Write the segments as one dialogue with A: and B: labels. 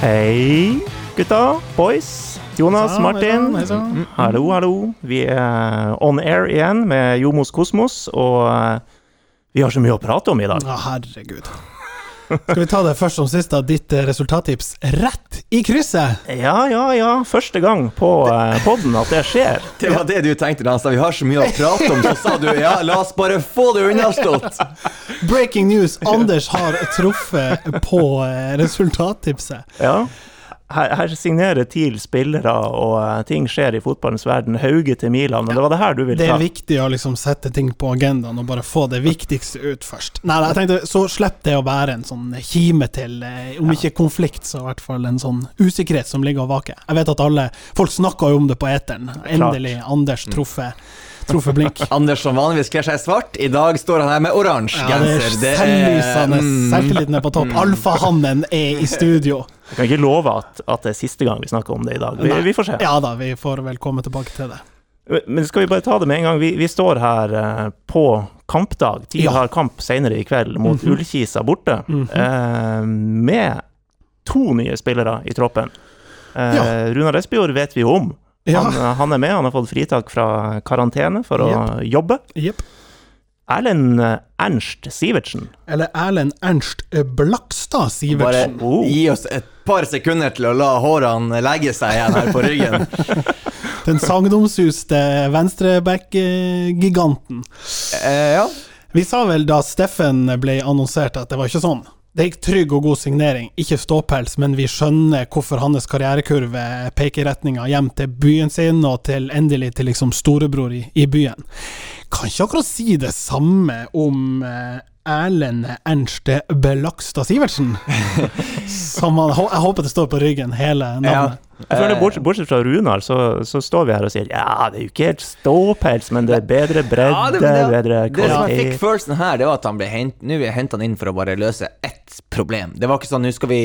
A: Hei, gutta. Boys. Jonas,
B: Hei sann,
A: Martin.
B: hei sann, hei sann.
A: Mm, Hallo, hallo. Vi er on air igjen med Jomos Kosmos, og eh, vi har så mye å prate om i dag.
B: Å, herregud. Skal vi ta det først som sist, da? Ditt eh, resultattips rett i krysset!
A: Ja, ja, ja. Første gang på eh, podden at det skjer.
C: Det var det du tenkte da han sa vi har så mye å prate om, så sa du ja, la oss bare få det unnaslått.
B: Breaking news! Anders har truffet på eh, resultattipset.
A: Ja. Her, her signerer TIL spillere, og eh, ting skjer i fotballens verden. Hauge til Milan, men det var det her du ville
B: Det er
A: ta.
B: viktig å liksom sette ting på agendaen og bare få det viktigste ut først. Nei, nei, jeg tenkte så slipp det å være en sånn kime til, eh, om ikke konflikt, så i hvert fall en sånn usikkerhet som ligger og vaker. Jeg vet at alle Folk snakker jo om det på eteren. Endelig, Anders truffet, truffet blink.
C: Anders som vanligvis kler seg svart, i dag står han her med oransje
B: Ja, det er
C: genser. Det er
B: selvlysende.
C: mm,
B: Selvtilliten er på topp. Alfahannen er i studio.
A: Jeg kan ikke love at, at det er siste gang vi snakker om det i dag. Vi,
B: Nei.
A: vi får se.
B: Ja da, vi får vel komme tilbake til det.
A: Men skal vi bare ta det med en gang? Vi, vi står her eh, på kampdag. TIL
B: Ja.
A: har kamp senere i kveld mot
C: Mhm.
A: Ullkisa borte. eh, med to nye spillere i troppen. Eh,
B: Ja.
A: Runar Espejord vet vi jo om.
B: Ja.
A: Han, eh, han er med, han har fått fritak fra karantene for å jobbe.
B: Jepp.
A: Erlend eh, Ernst Sivertsen.
B: Eller Erlend Ernst eh, Blakstad
C: Bare
B: Sivertsen.
A: Oh.
C: gi oss et par sekunder til å la hårene legge seg igjen her på ryggen.
B: Den sagnomsuste venstreback-giganten.
C: Eh, ja.
B: Vi sa vel da Steffen ble annonsert at det var ikke sånn. Det gikk trygg og god signering, ikke ståpels, men vi skjønner hvorfor hans karrierekurve peker i retninga hjem til byen sin, og til endelig til liksom storebror i, i byen. Kan ikke akkurat si det samme om eh, Erlend Ernst Belakstad Sivertsen. Som han, jeg håper det står på ryggen, hele
C: Ja.
B: navnet.
A: Jeg
C: Eh.
A: føler Bortsett, bortsett fra Runar, så, så står vi her og sier ja, det er jo ikke helt ståpels, men det er bedre bredde,
C: Ja, det, det, det,
A: bedre
C: som jeg fikk
A: kvalitet.
C: følelsen her, det var at han ble hent, nå er hentet han inn for å bare løse ett problem. Det var ikke sånn, nå skal vi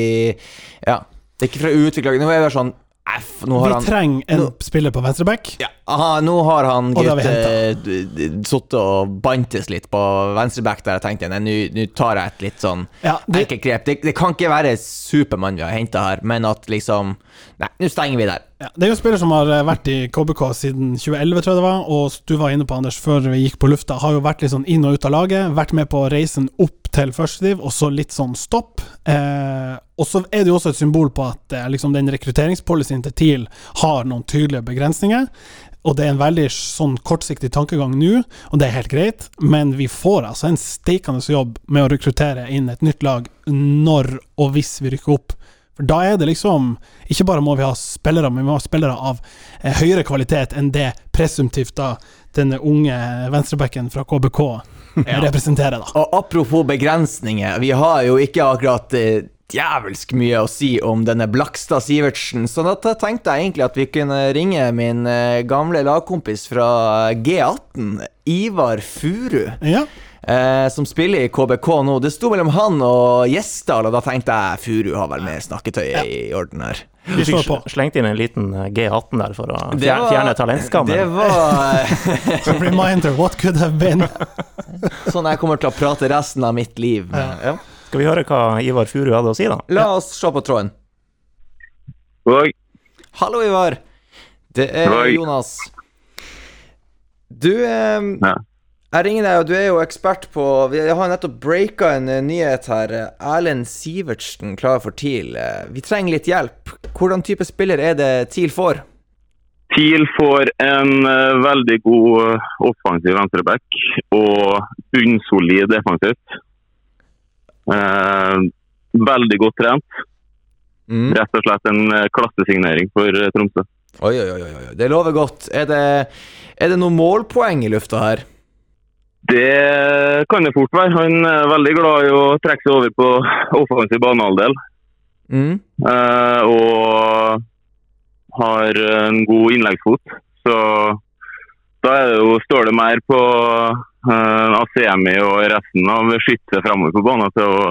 C: Ja. Det er ikke for å utvikle Nå er det sånn F, nå har
B: Vi
C: han
B: trenger en
C: Nå-
B: spiller på venstreback.
C: Ja, aha, nå har han eh,
B: Og det har vi
C: Gaute sittet og bantes litt på venstreback der. Jeg tenkte nei, nå nå tar jeg et litt sånn
B: Ja, det-
C: enkelt grep. Det, det kan ikke være Supermann vi har henta her, men at liksom Nei, nå stenger vi der.
B: Ja, det er jo en spiller som har eh, vært i KBK siden 2011, tror jeg det var, og du var inne på, Anders, før vi gikk på lufta, har jo vært litt sånn inn og ut av laget, vært med på reisen opp til førstediv, og så litt sånn stopp. Eh, og så er det jo også et symbol på at eh, liksom den rekrutteringspolicyen til TIL har noen tydelige begrensninger. Og det er en veldig sånn kortsiktig tankegang nå, og det er helt greit, men vi får altså en steikende jobb med å rekruttere inn et nytt lag når og hvis vi rykker opp. For da er det liksom Ikke bare må vi ha spillere, men vi må ha spillere av eh, høyere kvalitet enn det presumptivt da denne unge venstrebacken fra KBK representerer, da.
C: Og apropos begrensninger, vi har jo ikke akkurat eh, djevelsk mye å si om denne Blakstad Sivertsen, så da te- tenkte jeg egentlig at vi kunne ringe min eh, gamle lagkompis fra eh, G18, Ivar Furu,
B: Ja.
C: eh, som spiller i KBK nå. Det sto mellom han og Gjesdal, og da tenkte jeg Furu har vel med snakketøyet i orden her.
A: Vi
B: slår
A: fikk
B: på.
A: sl- slengt inn en liten eh, G18 der for å
C: Det
A: fjerne,
C: var-
A: fjerne
C: Det
A: talentskammen.
C: var eh,
B: Reminder, what could have been?
C: sånn jeg kommer til å prate resten av mitt liv. med. Ja.
A: Skal vi høre hva Ivar Furu hadde å si, da?
C: La oss se på tråden.
D: Og
C: Hallo, Ivar. Det er
D: Hei.
C: Jonas. Du eh,
D: Ja.
C: Jeg ringer deg, og du er jo ekspert på vi- Jeg har nettopp breaka en eh, nyhet her. Eh, Erlend Sivertsen klar for TIL. Eh, Vi trenger litt hjelp. Hvordan type spiller er det TIL får?
D: TIL får en eh, veldig god eh, offensiv venstreback og bunnsolid defensivt. Eh, veldig godt trent.
C: Mm.
D: Rett og slett en eh, klassesignering for eh, Tromsø.
C: Oi, oi, oi, oi, oi. Det lover godt. Er det, er det noen målpoeng i lufta her?
D: Det kan det fort være. Han er veldig glad i å trekke seg over på offensiv banehalvdel.
C: Mm.
D: eh, og har en god innleggsfot. Så da er det jo, står det mer på eh, Asemi og resten av skyttet fremover på banen til å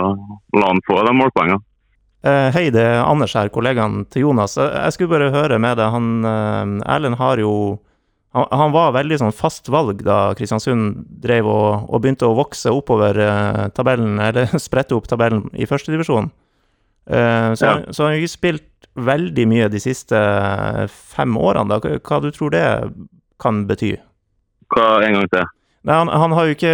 D: la han få de målpoengene.
A: Eh, Hei, det er Anders her, kollegaen til Jonas. Eh, Jeg skulle bare høre med deg. Han eh, Erlend har jo han, han var veldig sånn fast valg da Kristiansund drev og, og begynte å vokse oppover eh, tabellen, eller sprette opp tabellen i førstedivisjon. Eh, så,
D: Ja.
A: han- så han har jo ikke spilt veldig mye de siste fem årene, da. Hva, hva du tror det kan bety?
D: Hva en gang til?
A: Nei, han, han har jo ikke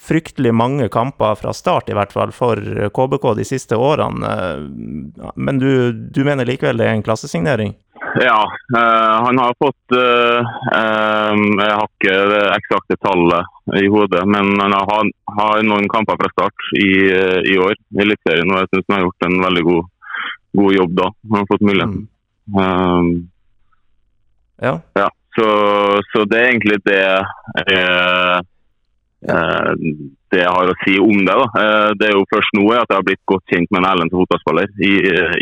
A: fryktelig mange kamper fra start, i hvert fall, for KBK de siste årene. eh, Men du, du mener likevel det er en klassesignering?
D: Ja, eh, han har fått eh, eh, Jeg har ikke det eksakte tallet i hodet, men han har, han har noen kamper fra start i, eh, i år i Eliteserien, og jeg syns han har gjort en veldig god, god jobb da. Han har fått muligheten.
A: Mm.
D: Eh,
A: Ja.
D: Ja, så, så det er egentlig det eh, eh, det jeg har å si om det. da. Eh, det er jo først nå at jeg har blitt godt kjent med en Erlend som fotballspiller i,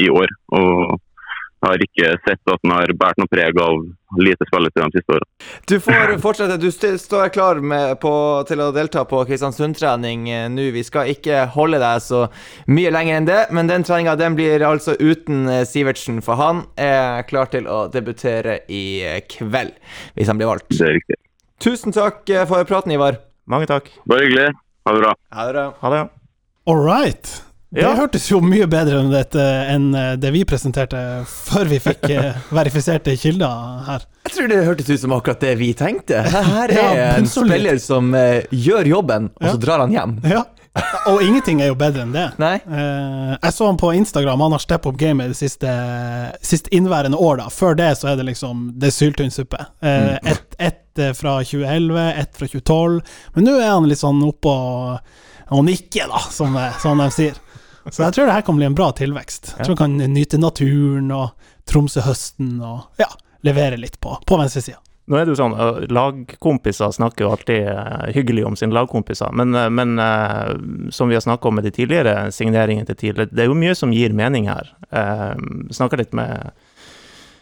D: i år. Og jeg har ikke sett at han har båret noe preg av lite spilletid de siste årene.
C: Du får fortsette. Du st står klar med på, til å delta på Kristiansund-trening eh, nå. Vi skal ikke holde deg så mye lenger enn det, men den treninga den blir altså uten eh, Sivertsen, for han er klar til å debutere i eh, kveld, hvis han blir valgt.
D: Det er riktig.
C: Tusen takk eh, for praten, Ivar.
A: Mange takk.
D: Bare hyggelig. Ha det bra.
C: Ha det bra.
A: Ha det.
B: All right. Det
A: Ja.
B: hørtes jo mye bedre enn, dette, enn eh, det vi presenterte før vi fikk eh, verifiserte kilder her.
C: Jeg tror det hørtes ut som akkurat det vi tenkte. Her er
B: Ja, men
C: en
B: så litt.
C: spiller som eh, gjør jobben, og så
B: Ja.
C: drar han hjem.
B: Ja. Og ingenting er jo bedre enn det.
C: Nei?
B: Eh, jeg så han på Instagram, han har step up gamet det siste, sist innværende år, da. Før det så er det liksom Det er syltynn suppe. Uh, ett ett, eh, fra 2011, ett fra 2012. Men nå er han litt sånn oppe og, og nikker, da, som, det- som de sier. Så jeg tror det her kan bli en bra tilvekst. Jeg tror han kan nyte naturen og Tromsø-høsten og ja, levere litt på, på venstresida.
A: Nå er det jo sånn, eh, lagkompiser snakker jo alltid eh, hyggelig om sine lagkompiser, men, eh, men eh, som vi har snakket om med de tidligere signeringene til tidligere, det er jo mye som gir mening her. Eh, Snakket litt med,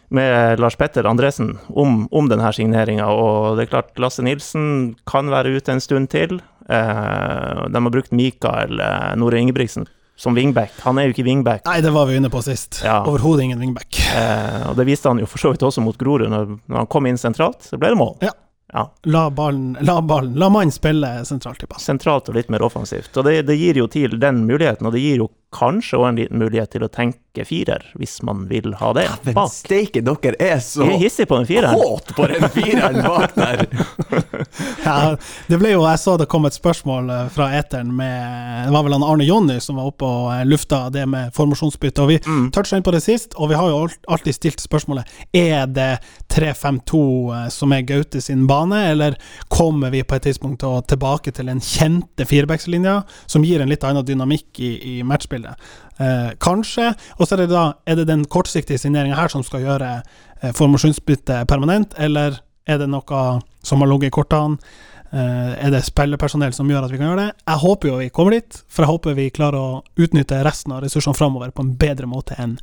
A: med Lars Petter Andresen om, om denne signeringen, og det er klart Lasse Nilsen kan være ute en stund til. Eh, De har brukt Mikael eh, Nore Ingebrigtsen som wingback. Han er jo ikke wingback.
B: Nei, det var vi inne på sist.
A: Ja.
B: Overhodet ingen wingback.
A: Eh, og Det viste han jo for så vidt også mot Grorud, når, når han kom inn sentralt, så ble det mål.
B: Ja. La ballen, la ballen, la mannen spille sentralt i banen.
A: sentralt og litt mer offensivt. Og det, det gir jo TIL den muligheten, og det gir jo kanskje også en liten mulighet til å tenke firer, hvis man vil ha det.
C: Men
A: Bak.
C: steike, dere er så
A: Jeg er hissig på den fireren.
C: kåt på den fireren bak der!
B: Ja, det ble jo, jeg så det kom et spørsmål eh, fra eteren med Det var vel han Arne Jonny som var oppe og eh, lufta det med formasjonsbytte. Og vi
A: Mm.
B: toucha inn på det sist, og vi har jo alt- alltid stilt spørsmålet Er det 3-5-2 eh, som er Gaute sin bane, eller kommer vi på et tidspunkt til å tilbake til den kjente firebackslinja, som gir en litt annen dynamikk i, i matchbildet? Eh, kanskje. Og så er det da Er det den kortsiktige signeringa her som skal gjøre eh, formasjonsbyttet permanent, eller er det noe som har ligget i kortene? Eh, er det spillerpersonell som gjør at vi kan gjøre det? Jeg håper jo vi kommer dit, for jeg håper vi klarer å utnytte resten av ressursene framover på en bedre måte enn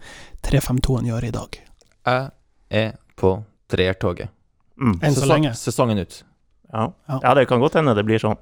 B: 352-en gjør i dag.
E: Jeg er på treertoget.
A: Mm.
B: Enn så
E: Sesong-
B: lenge.
E: Sesongen ut.
A: Ja.
B: Ja.
A: ja, det kan godt hende det blir sånn.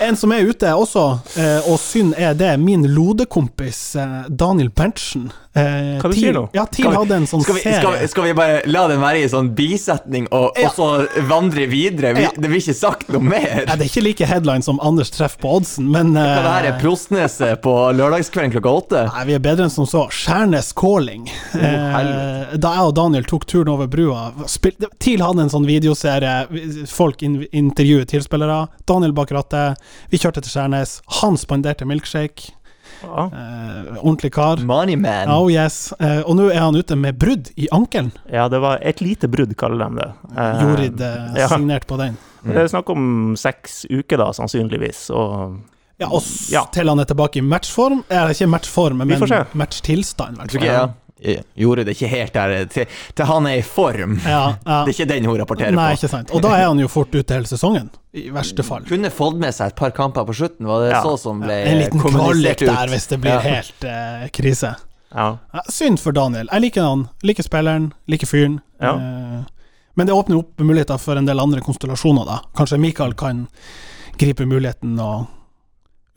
B: En som er ute også, eh, og synd er det, min lodekompis eh, Daniel Berntsen. Eh,
A: Hva du
B: TIL-
A: sier nå?
B: Ja, TIL
C: Skal vi-
B: hadde en sånn
C: Skal vi, skal, vi-
B: serie.
C: skal vi bare la den være i sånn bisetning, og,
B: Ja.
C: og så vandre videre? Vi,
B: Ja.
C: Det blir ikke sagt noe mer.
B: Ja, det er ikke like headline som Anders treffer på oddsen, men eh,
C: Hva det her er Prostneset på lørdagskvelden klokka åtte?
B: Nei, vi er bedre enn som så. Skjærnes calling. eh,
C: helvete.
B: da jeg og Daniel tok turen over brua spil, TIL hadde en sånn videoserie. vi- Folk in, intervjuet TIL-spillere. Daniel bak rattet. Vi kjørte til Skjærnes. Han spanderte milkshake.
A: Ja.
B: Eh, ordentlig kar.
C: Moneyman.
B: Oh yes. Eh, og nå er han ute med brudd i ankelen.
A: ja, det var et lite brudd, kaller de det. Eh,
B: Jorid eh,
A: ja.
B: signert på den.
A: Det er snakk om seks uker, da, sannsynligvis. Og
B: Ja, og s-
A: Ja.
B: til han er tilbake i matchform. Eller ikke matchform, men
A: får se.
B: matchtilstand, i hvert
C: Tror
B: fall.
C: ikke jeg jeg gjorde det ikke helt der til, til han er i form.
B: Ja, ja.
C: Det er ikke den hun rapporterer
B: Nei,
C: på.
B: ikke
C: Mm.
B: sant. Og da er han jo fort ute hele sesongen, i verste fall.
C: Kunne fått med seg et par kamper på slutten, var det
A: Ja.
C: så som ble
B: En liten kvalik
C: kommunisert ut?
B: der hvis det blir
C: Ja.
B: helt eh, krise.
A: ja.
B: Ja, synd for Daniel. Jeg liker han. Liker spilleren, liker fyren.
A: Ja.
B: Eh, men det åpner opp muligheter for en del andre konstellasjoner, da. Kanskje Michael kan gripe muligheten og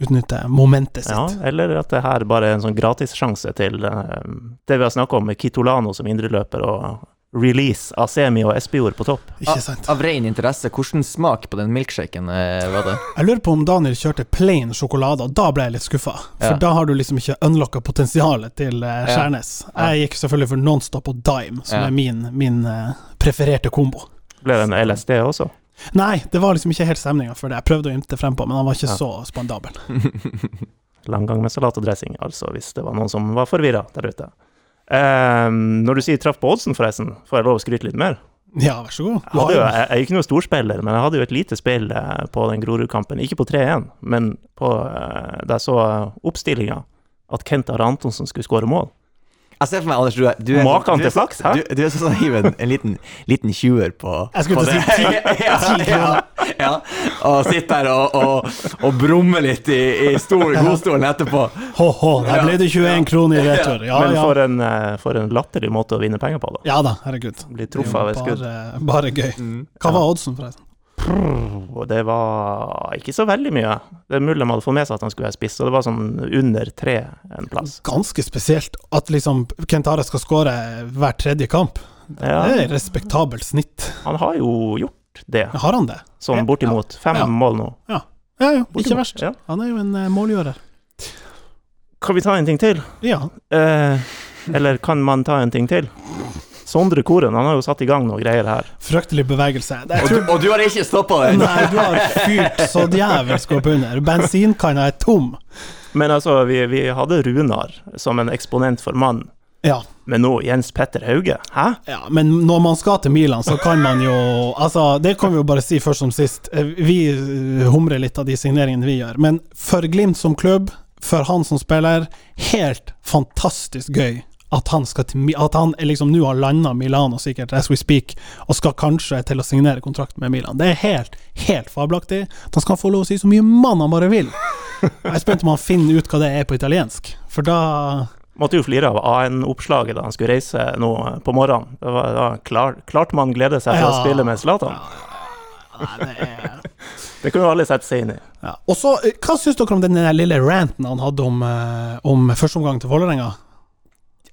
B: utnytte momentet
A: ja,
B: sitt.
A: eller at det her bare er en sånn gratissjanse til eh, det vi har snakka om med Kitolano som indreløper, og release av Semi og Espejord på topp.
B: Ikke sant?
C: Av ren interesse, hvordan smak på den milkshaken eh, var det?
B: Jeg lurer på om Daniel kjørte plain sjokolade, og da ble jeg litt skuffa. For
C: Ja.
B: da har du liksom ikke unlocka potensialet til eh,
C: Ja.
B: Skjærnes. Jeg gikk selvfølgelig for Nonstop og Dime, som
C: Ja.
B: er min, min eh, prefererte kombo.
A: Ble det en LSD også?
B: Nei, det var liksom ikke helt stemninga for det. Jeg prøvde å ymte frempå, men han var ikke
A: Ja.
B: så spandabel.
A: Langgang med salat og dressing, altså, hvis det var noen som var forvirra der ute. Eh, når du sier traff på oddsen, forresten, får jeg lov å skryte litt mer?
B: Ja, vær så god.
A: Jeg, hadde jo, jeg, jeg er jo ikke noen storspiller, men jeg hadde jo et lite spill eh, på den Grorud-kampen. Ikke på 3-1, men på, eh, da jeg så oppstillinga, at Kent Are Antonsen skulle skåre mål.
C: Jeg ser for meg, Anders, du er, du er
A: Maken
C: du er
A: til flaks, hæ?
C: Du, du er sånn naiv, en, en liten, liten tjuer på
B: Jeg skulle
C: på
B: til å
C: det.
B: si
C: ja, ja, ja. Og sitter der og, og, og brummer litt i, i stol, godstolen etterpå.
B: Ho-ho, der ble det 21 kroner i retur. Ja,
A: men
B: ja.
A: For, en, eh, for en latterlig måte å vinne penger på, da.
B: ja da, herregud.
A: Bli
B: Det er jo
A: truffet av et skudd. Mm.
B: Bare, bare gøy. Hva var oddsen, forresten?
A: Og det var ikke så veldig mye. Det er mulig de hadde fått med seg at han skulle være spiss, og det var sånn under tre en plass.
B: Ganske spesielt at liksom Kent Are skal skåre hver tredje kamp. Det er
A: Ja,
B: et respektabelt snitt.
A: han har jo gjort det,
B: Har han det?
A: sånn bortimot. Fem
B: Ja.
A: mål nå.
B: Ja, ja, ikke
A: Bortimot,
B: verst.
A: ja.
B: Han er jo en eh, målgjører.
A: Kan vi ta en ting til?
B: Ja.
A: Eh, eller kan man ta en ting til? Sondre Koren han har jo satt i gang noe greier her.
B: Fryktelig bevegelse. Det
C: Og
B: er
C: du, og du har ikke stoppa den?
B: Nei, du har fyrt så djevelsk opp under. Bensinkanna er tom.
A: Men altså, vi, vi hadde Runar som en eksponent for mann,
B: Ja.
A: men nå Jens Petter Hauge. Hæ?
B: ja, men når man skal til Milan, så kan man jo Altså, det kan vi jo bare si først som sist. Eh, Vi eh, humrer litt av de signeringene vi gjør, men for Glimt som klubb, for han som spiller, helt fantastisk gøy. At han, skal til, Mi- at han liksom nå har landa Milano sikkert as we speak, og skal kanskje til å signere kontrakt med Milan. Det er helt, helt fabelaktig. At han skal få lov å si så mye mann han bare vil. Jeg er spent om han finner ut hva det er på italiensk, for da
A: Måtte jo flire av AN-oppslaget da han skulle reise nå eh, på morgenen. Det var, da klar, klart man gleder seg til å
B: Ja.
A: spille med Zlatan.
B: Nei, det er
A: Det kunne jo alle sette seg inn i.
B: Ja. Og så, eh, Hva syns dere om den der lille ranten han hadde om, eh, om førsteomgang til Vålerenga?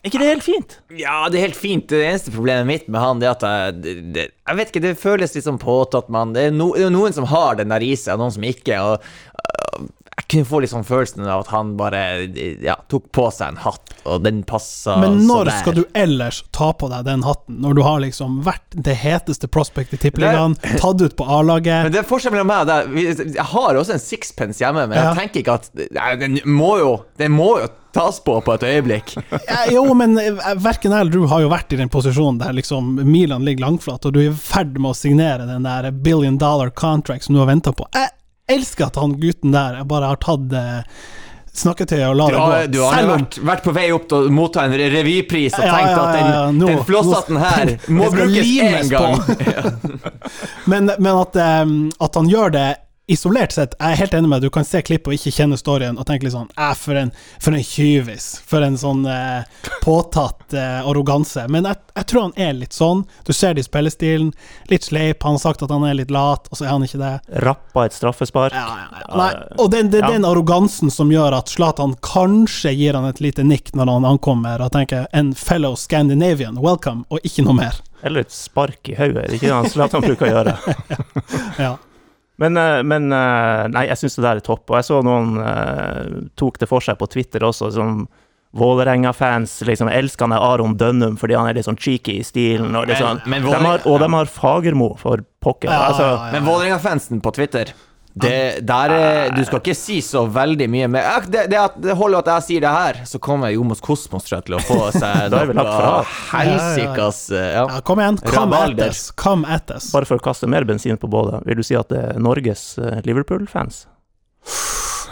A: Er ikke det helt fint?
C: Ja, det er helt fint. Det eneste problemet mitt med han, det er at jeg det- det, Jeg vet ikke, det føles litt sånn påtatt, mann. Det er no, det er jo noen som har den der i seg, og noen som ikke. Og øh, jeg kunne få litt sånn følelsen av at han bare ja, tok på seg en hatt, og den passa
B: Men
C: så
B: når
C: der.
B: skal du ellers ta på deg den hatten, når du har liksom vært det heteste prospect i tippeligaen, tatt ut på
C: Men
B: A-laget?
C: det er forskjell mellom meg og deg. Vi- Jeg har også en sixpence hjemme, men
B: Ja.
C: jeg tenker ikke at Nei, Den må jo Den må jo tas på på et øyeblikk.
B: Ja, jo, men eh, verken jeg eller du har jo vært i den posisjonen der liksom Milan ligger langflat, og du er i ferd med å signere den der billion dollar contract som du har venta på. Jeg elsker at han gutten der jeg bare har tatt eh, snakketøyet og la
C: Du
B: det
C: har,
B: gå.
C: du har
B: Selv om-
C: vært, vært på vei opp til å motta en re- revypris og
B: Ja,
C: tenkt
B: ja,
C: at
B: ja, ja,
C: den,
B: nå-
C: den flosshatten her
B: nå-
C: må
B: det skal
C: brukes
B: limes
C: én gang.
B: Men, men at, eh, at han gjør det isolert sett, jeg er helt enig med deg. Du kan se klipp og ikke kjenne storyen og tenke litt sånn Æh, for en, for en kyvis. For en sånn eh, påtatt eh, arroganse. Men jeg, jeg tror han er litt sånn. Du ser det i spillestilen. Litt sleip. Han har sagt at han er litt lat, og så er han ikke det.
A: Rappa et straffespark.
B: Ja, ja, ja. Nei, og det, det, det er den arrogansen som gjør at Zlatan kanskje gir han et lite nikk når han ankommer og tenker 'en fellow Scandinavian, welcome', og ikke noe mer.
A: Eller et spark i hodet. Det er ikke det han Zlatan bruker å gjøre.
B: Ja.
A: Men, eh, men eh, nei, jeg syns det der er topp. Og jeg så noen eh, tok det for seg på Twitter også, som Vålerenga-fans liksom elskende Aron Dønnum fordi han er litt sånn cheeky i stilen. Og, litt
C: Men-
A: sånn.
C: men
A: de har, og de har Fagermo for pokker.
B: Ja,
A: altså,
B: ja, ja.
C: Men Vålerenga-fansen på Twitter det, der, er- Du skal ikke si så veldig mye mer. Eh, Det, det, at, det holder at jeg sier det her, så kommer Jomos Kosmos tror jeg, til å få seg
A: Da er vi lagt fra.
C: noe helsikas eh, ja.
B: Ja, kom igjen. Come at
C: Rabalder.
B: us. Come at us.
A: Bare for å kaste mer bensin på bålet, vil du si at det er Norges eh, Liverpool-fans?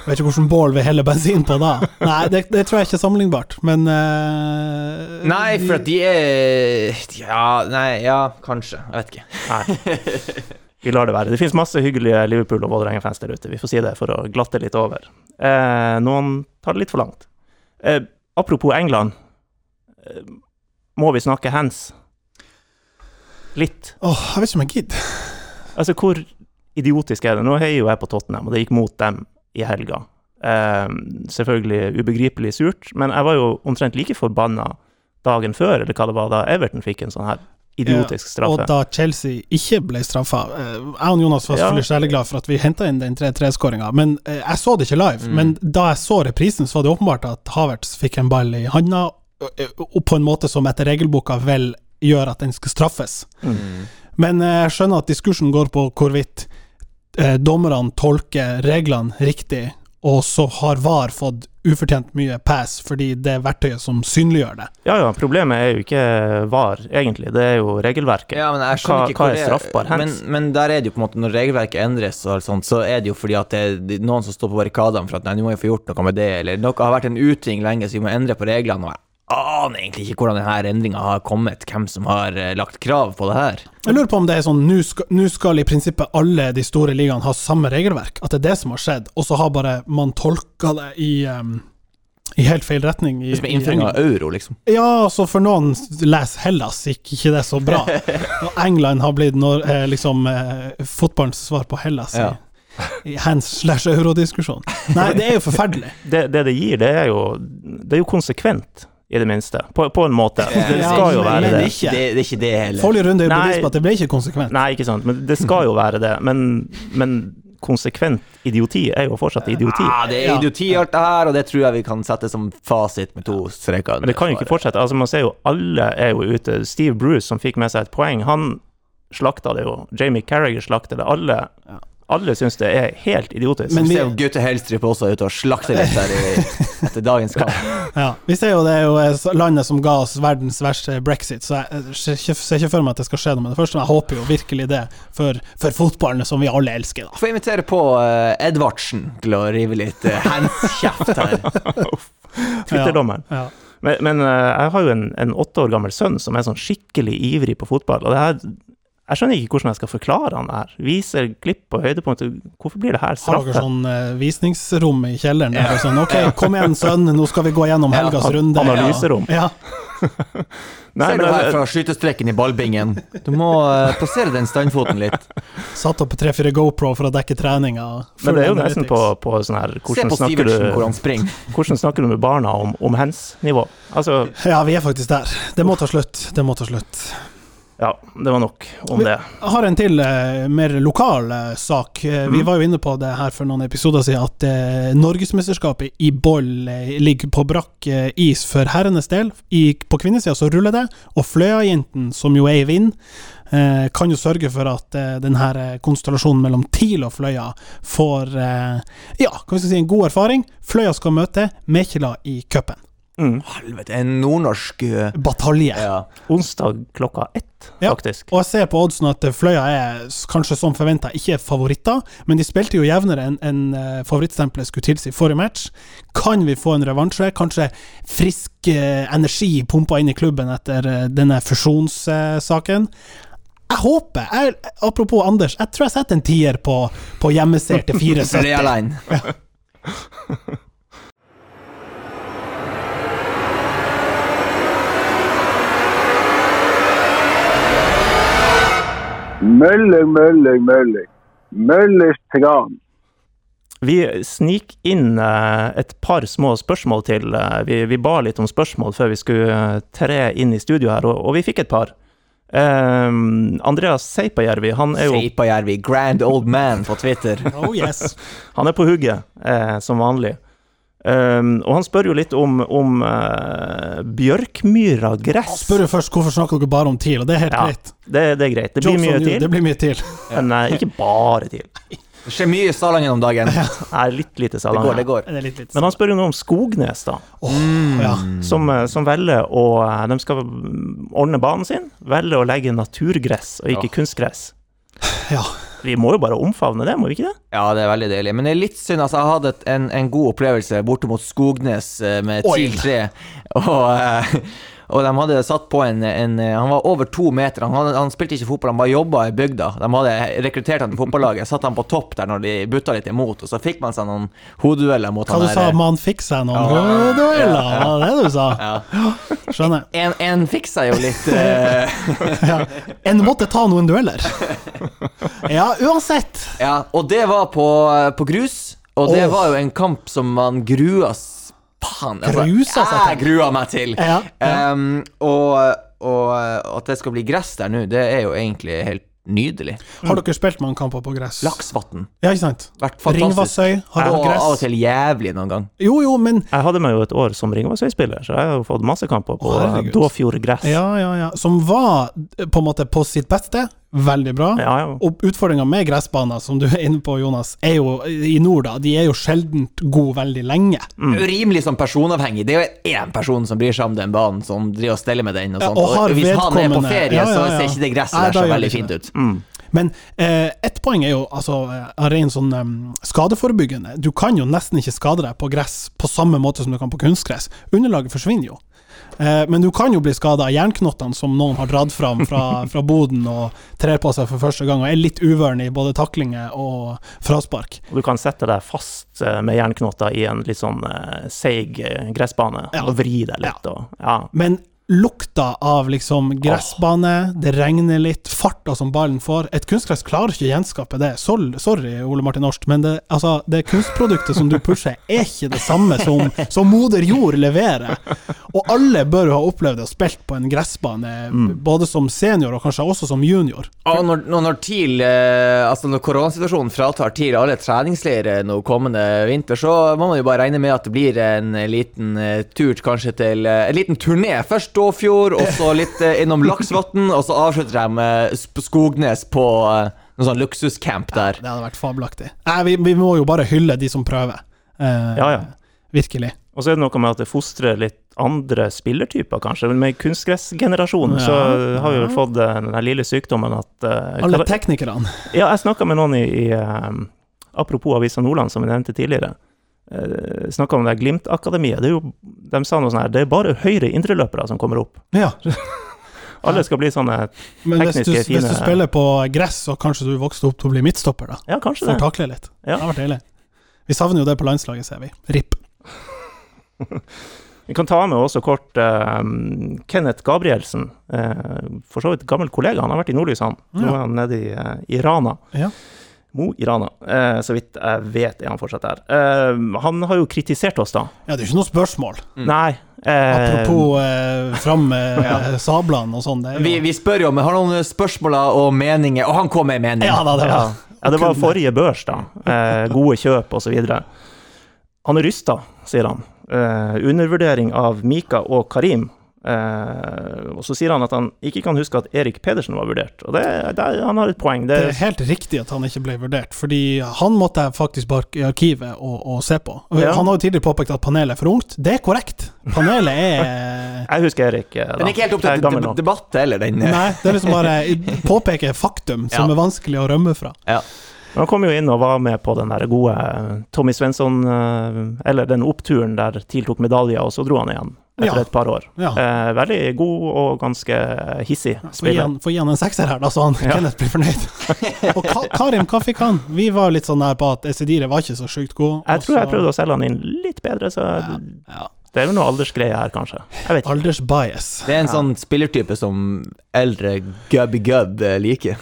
B: Jeg vet ikke hvordan bål vi heller bensin på da. Nei, det, det tror jeg ikke er sammenlignbart, men eh,
C: Nei, for at de er Ja, nei, ja, kanskje. Jeg vet ikke.
A: Nei. Vi lar det være. Det finnes masse hyggelige Liverpool- og Vålerenga-fans der ute. Vi får si det for å glatte litt over. Eh, noen tar det litt for langt. Eh, apropos England. Eh, må vi snakke hands? Litt.
B: Åh, jeg vet ikke om jeg gidder.
A: Altså, hvor idiotisk er det? Nå heier jo jeg på Tottenham, og det gikk mot dem i helga. Eh, selvfølgelig ubegripelig surt, men jeg var jo omtrent like forbanna dagen før, eller hva det var, da Everton fikk en sånn her idiotisk
B: Og
A: straffe.
B: da Chelsea ikke ble straffa eh, Jeg og Jonas var
A: Ja.
B: selvfølgelig særlig glad for at vi henta inn den 3-3-skåringa, men eh, jeg så det ikke live.
A: Mm.
B: Men da jeg så reprisen, så var det åpenbart at Havertz fikk en ball i handa, ø- ø- og på en måte som etter regelboka vel gjør at den skal straffes.
A: Mm.
B: Men eh, jeg skjønner at diskursen går på hvorvidt eh, dommerne tolker reglene riktig, og så har VAR fått ufortjent mye pass fordi det er verktøyet som synliggjør det.
A: Ja ja, problemet er jo ikke VAR, egentlig. Det er jo regelverket.
C: Ja, men jeg
A: Hva-
C: skjønner ikke
A: hva
C: hvor
A: er
C: det
A: straffbar
C: men,
A: hands?
C: men der er det jo på en måte når regelverket endres, og alt sånt, så er det jo fordi at det er de- noen som står på barrikadene for at nei, nå må vi få gjort noe med det, eller noe har vært en uting lenge, så vi må endre på reglene. og jeg Aner egentlig ikke hvordan denne endringa har kommet, hvem som har eh, lagt krav på det her.
B: Jeg lurer på om det er sånn nå skal, nå skal i prinsippet alle de store ligaene ha samme regelverk, at det er det som har skjedd, og så har bare man tolka det i, em, i helt feil retning. I,
C: Det er som er innføring av
B: i England.
C: euro, liksom.
B: ja, altså for noen les Hellas gikk ikke det så bra. Og England har blitt når, eh, liksom eh, fotballens svar på Hellas.
C: Ja.
B: I, i hands slash euro-diskusjon. Nei, det er jo forferdelig.
A: det, det det gir, det er jo Det er jo konsekvent, i det minste. På, på en måte. Det skal jo
B: men-
A: være
B: men
A: det.
B: ikke.
C: Det, det er ikke det heller.
B: Forrige runde er jo
A: Nei.
B: bevis på at det ble ikke konsekvent.
A: Nei, ikke sant. Men det skal jo være det. Men, men konsekvent idioti er jo fortsatt idioti.
C: Ah, det er
B: Ja.
C: idioti alt det her, og det tror jeg vi kan sette som fasit med to streker. under
A: Men det kan jo ikke
C: svaret.
A: fortsette. Altså, man ser jo alle er jo ute. Steve Bruce, som fikk med seg et poeng, han slakta det jo. Jamie Carriger slakta det. Alle, alle syns det er helt idiotisk.
B: Men
C: Vi
B: vi-
C: ser jo Gaute Helstrup også er ute og slakter litt der i, etter dagens kamp.
B: Ja, vi ser jo det er jo eh, landet som ga oss verdens verste brexit, så jeg eh, ser ikke- ser ikke for meg at det skal skje noe med det første, men jeg håper jo virkelig det for, for fotballen som vi alle elsker, da.
C: Får invitere på eh, Edvardsen til å rive litt uh, hands-kjeft her.
A: Twitterdommeren.
B: Ja.
A: Men, men eh, jeg har jo en, en åtte år gammel sønn som er sånn skikkelig ivrig på fotball. Og det her, jeg skjønner ikke hvordan jeg skal forklare han det her. Viser klipp og høydepunkter. Hvorfor blir det her
B: Har dere
A: straffe?
B: sånn eh, visningsrom i kjelleren? Der, og sånn, ok, kom igjen sønn, nå skal vi gå gjennom helgas runde.
A: analyserom.
B: Ja.
A: Nei,
C: Ser du
A: men, eh,
C: her fra skytestreken i ballbingen? Du må eh, plassere den standfoten litt.
B: Ja. Satt opp tre-fire GoPro for å dekke treninga.
A: men det er jo
B: Full
A: nesten på,
B: analytics.
A: på sånn her
C: Se
A: hvordan
C: på
A: snakker,
C: Sivertsen hvor
A: du,
C: han springer.
A: hvordan snakker du med barna om, om hands-nivå? Altså,
B: Ja, vi er faktisk der. Det må ta slutt. Det må ta slutt.
A: ja, det var nok om
B: Vi-
A: det.
B: Jeg har en til eh, mer lokal eh, sak. Eh, Vi var jo inne på det her for noen episoder siden, at eh, Norgesmesterskapet i boll eh, ligger på brakk eh, is for herrenes del. I, på kvinnesida så ruller det, og Fløya-jentene, som jo er i vind, eh, kan jo sørge for at eh, den her eh, konstellasjonen mellom TIL og Fløya får eh, ja, hva skal vi si, en god erfaring. Fløya skal møte Mekela i cupen.
C: Helvete, en nordnorsk eh,
B: Batalje.
C: ja.
A: Onsdag klokka ett,
B: Ja,
A: faktisk.
B: Og jeg ser på oddsen at Fløya er s- kanskje som forventa ikke er favoritter, men de spilte jo jevnere enn enn, eh, favorittstempelet skulle tilsi forrige match. Kan vi få en revansje? Kanskje frisk eh, energi pumpa inn i klubben etter eh, denne fusjonssaken? Jeg håper jeg, Apropos Anders, jeg tror jeg setter en tier på, på hjemmeseier til 470.
C: Flea Line.
F: Møller, møller, møller. Møllers tran.
A: Vi snik inn eh, et par små spørsmål til. eh, Vi, vi ba litt om spørsmål før vi skulle eh, tre inn i studio her, og, og vi fikk et par. Ehm, Andreas Seipajärvi, han er jo
C: Seipajärvi, grand old man på Twitter.
B: Oh yes.
A: han er på hugget, eh, som vanlig. Ehm, og han spør jo litt om, om eh, Bjørkmyra
B: Jeg
A: gress.
B: spør jo først hvorfor snakker dere bare om TIL, og det er helt
A: Ja,
B: greit.
A: det, det er greit. Det blir
B: Jokes on
A: mye
B: you,
A: til,
B: Det blir mye TIL.
A: men eh, ikke bare til.
C: Det skjer mye i Salangen om dagen. Det
A: Nei, litt lite
C: går, det
A: salanger.
C: går.
B: Det er litt, litt.
A: Men han spør jo noe om Skognes, da.
B: Åh, ja.
A: som, eh, som velger å eh, De skal ordne banen sin, velger å legge naturgress og ikke kunstgress.
B: ja.
A: Vi må jo bare omfavne det, må vi ikke det?
C: Ja, det er veldig deilig. Men det er litt synd. altså Jeg hadde et, en, en god opplevelse borte mot Skognes eh, med
B: Oi.
C: TIL 3. Og, eh, og de hadde satt på en, en eh, Han var over to meter. Han, hadde, han spilte ikke fotball, han bare jobba i bygda. De hadde rekruttert han til fotballaget. Satt han på topp der når de butta litt imot. Og så fikk man seg noen hodedueller mot
B: Hva du
C: han der,
B: sa,
C: eh,
B: man fikk seg noen
C: Ja.
B: hodedueller, var det det du sa? Skjønner.
C: En, en fikk seg jo litt eh,
B: Ja. En måtte ta noen dueller. Ja, uansett.
C: Ja, og det var på, eh, på grus. Og det
B: Åh.
C: var jo en kamp som man grua s- Faen. altså.
B: Grusa seg
C: jeg grua meg til.
B: Ja, ja.
C: Ehm, og og eh, at det skal bli gress der nå, det er jo egentlig helt nydelig.
B: Har dere spilt mange kamper på gress?
C: Laksvatn.
B: Ja, ikke sant?
C: Vært fantastisk.
B: Ringvassøy har
C: Og
B: hatt
C: av og
B: gress.
C: til jævlig noen gang.
B: Jo, jo, men
A: Jeg hadde meg jo et år som Ringvassøy-spiller, så jeg har jo fått masse kamper på eh,
B: Å, herregud.
A: Dåfjord gress.
B: Ja, ja, ja. Som var eh, på en måte på sitt beste. Veldig bra.
A: Ja, ja.
B: Og utfordringa med gressbaner, som du er inne på, Jonas, er jo i nord, da. De er jo sjeldent gode veldig lenge.
C: Rimelig sånn personavhengig. Det er jo én person som bryr seg om den banen, som driver og steller med den. Og,
B: Ja,
C: sånt.
B: og har
C: og hvis han er på
B: vedkommende-
C: ferie,
B: Ja, ja,
C: så
B: ja.
C: ser ikke det gresset
B: Nei,
C: der
B: da
C: så
B: gjør
C: veldig
B: det ikke
C: fint
B: det.
C: ut.
A: Mm.
B: Men eh, ett poeng er jo altså, eh, av ren sånn em, skadeforebyggende. Du kan jo nesten ikke skade deg på gress på samme måte som du kan på kunstgress. Underlaget forsvinner jo. Eh, men du kan jo bli skada av jernknottene som noen har dratt fram fra, fra boden og trer på seg for første gang, og er litt uvøren i både taklinger og fraspark.
A: Og du kan sette deg fast eh, med jernknotter i en litt sånn eh, seig eh, gressbane
B: Ja.
A: og vri deg litt. Og, ja.
B: Men lukta av liksom gressbane, det regner litt, farta som ballen får Et kunstgress klarer ikke å gjenskape det. Sol, sorry, Ole Martin Årst, men det, altså, det kunstproduktet som du pusher, er ikke det samme som, som moder jord leverer. Og alle bør jo ha opplevd å spilt på en gressbane,
A: Mm.
B: både som senior og kanskje også som junior.
C: Og når, når, når TIL, eh, altså når koronasituasjonen fratar TIL alle treningsleirer nå kommende vinter, så må man jo bare regne med at det blir en liten eh, tur kanskje til eh, En liten turné. Først Dåfjord, og så litt eh, innom Laksvatn, og så avslutter de med eh, Sp- Skognes på eh, noe sånn luksuscamp der.
B: Det hadde vært fabelaktig. Nei, vi, vi må jo bare hylle de som prøver. Eh,
A: Ja, ja.
B: Virkelig.
A: og så er det noe med at det fostrer litt andre spillertyper, kanskje. Men med kunstgressgenerasjonen så
B: Ja,
A: har vi
B: ja.
A: vel fått eh, den her lille sykdommen at eh,
B: Alle
A: hva-
B: teknikerne.
A: Ja, jeg snakka med noen i, i eh, Apropos Avisa Nordland, som jeg nevnte tidligere. Uh, snakka om det her Glimt-akademiet. Det er jo- De sa noe sånn her Det er bare høyre indreløpere som kommer opp.
B: Ja.
A: Alle skal bli sånne
B: Men hvis du,
A: Tekniske, fine-
B: hvis du spiller på gress, så kanskje du vokste opp til å bli midtstopper, da.
A: Ja, kanskje
B: Får
A: det.
B: takle litt.
A: Ja.
B: Det har vært deilig. Vi savner jo det på landslaget, ser vi. RIP.
A: Vi kan ta med også kort eh, Kenneth Gabrielsen. eh, for så vidt gammel kollega. Han har vært i Nordlys, han. Nå
B: Ja.
A: er han nede i, eh, i Rana.
B: Ja.
A: Mo i Rana. Eh, så vidt jeg vet, er han fortsatt der. Eh, han har jo kritisert oss, da.
B: Ja, det er ikke noe spørsmål.
A: Nei. eh,
B: Mm. Apropos eh, fram med eh, sablene og sånn. det er jo-
C: Vi, vi spør jo om vi har noen spørsmål og meninger, og han kom med en mening.
B: Ja da, det var
A: Ja. ja, det var forrige børs, da. Eh, gode kjøp osv. Han er rysta, sier han. Eh, undervurdering av Mika og Karim. Eh, og så sier han at han ikke kan huske at Erik Pedersen var vurdert. Og det, det, han har et poeng. Det,
B: Det er helt riktig at han ikke ble vurdert, fordi han måtte jeg faktisk bare i arkivet og, og se på. Og
A: Ja.
B: Han har jo tidligere påpekt at panelet er for ungt. Det er korrekt. Panelet er
A: jeg husker Erik. eh, Da.
C: Den er ikke helt opp
A: Jeg
C: til
A: er gammel
C: de-
A: nok.
C: debatt heller, den. eh.
B: Nei, det er liksom bare påpeke faktum som
C: Ja.
B: er vanskelig å rømme fra.
C: Ja.
A: Men han kom jo inn og var med på den der gode eh, Tommy Svensson eh, Eller den oppturen der TIL tok medaljer, og så dro han igjen etter
B: Ja.
A: et par år.
B: Ja.
A: Eh, veldig god og ganske hissig
B: Få gi,
A: spiller.
B: han, få gi han en sekser her, da, så han
A: Ja.
B: Kenneth blir fornøyd. og Ka Karim, hva fikk han? Vi var litt sånn her på at Esedire var ikke så sjukt god. altså
A: Jeg tror jeg prøvde å selge han inn litt bedre, så
B: ja.
A: det er vel noe aldersgreie her, kanskje. Jeg vet ikke.
B: Aldersbias.
C: Det er en sånn spillertype som eldre gubby-gubb eh, liker.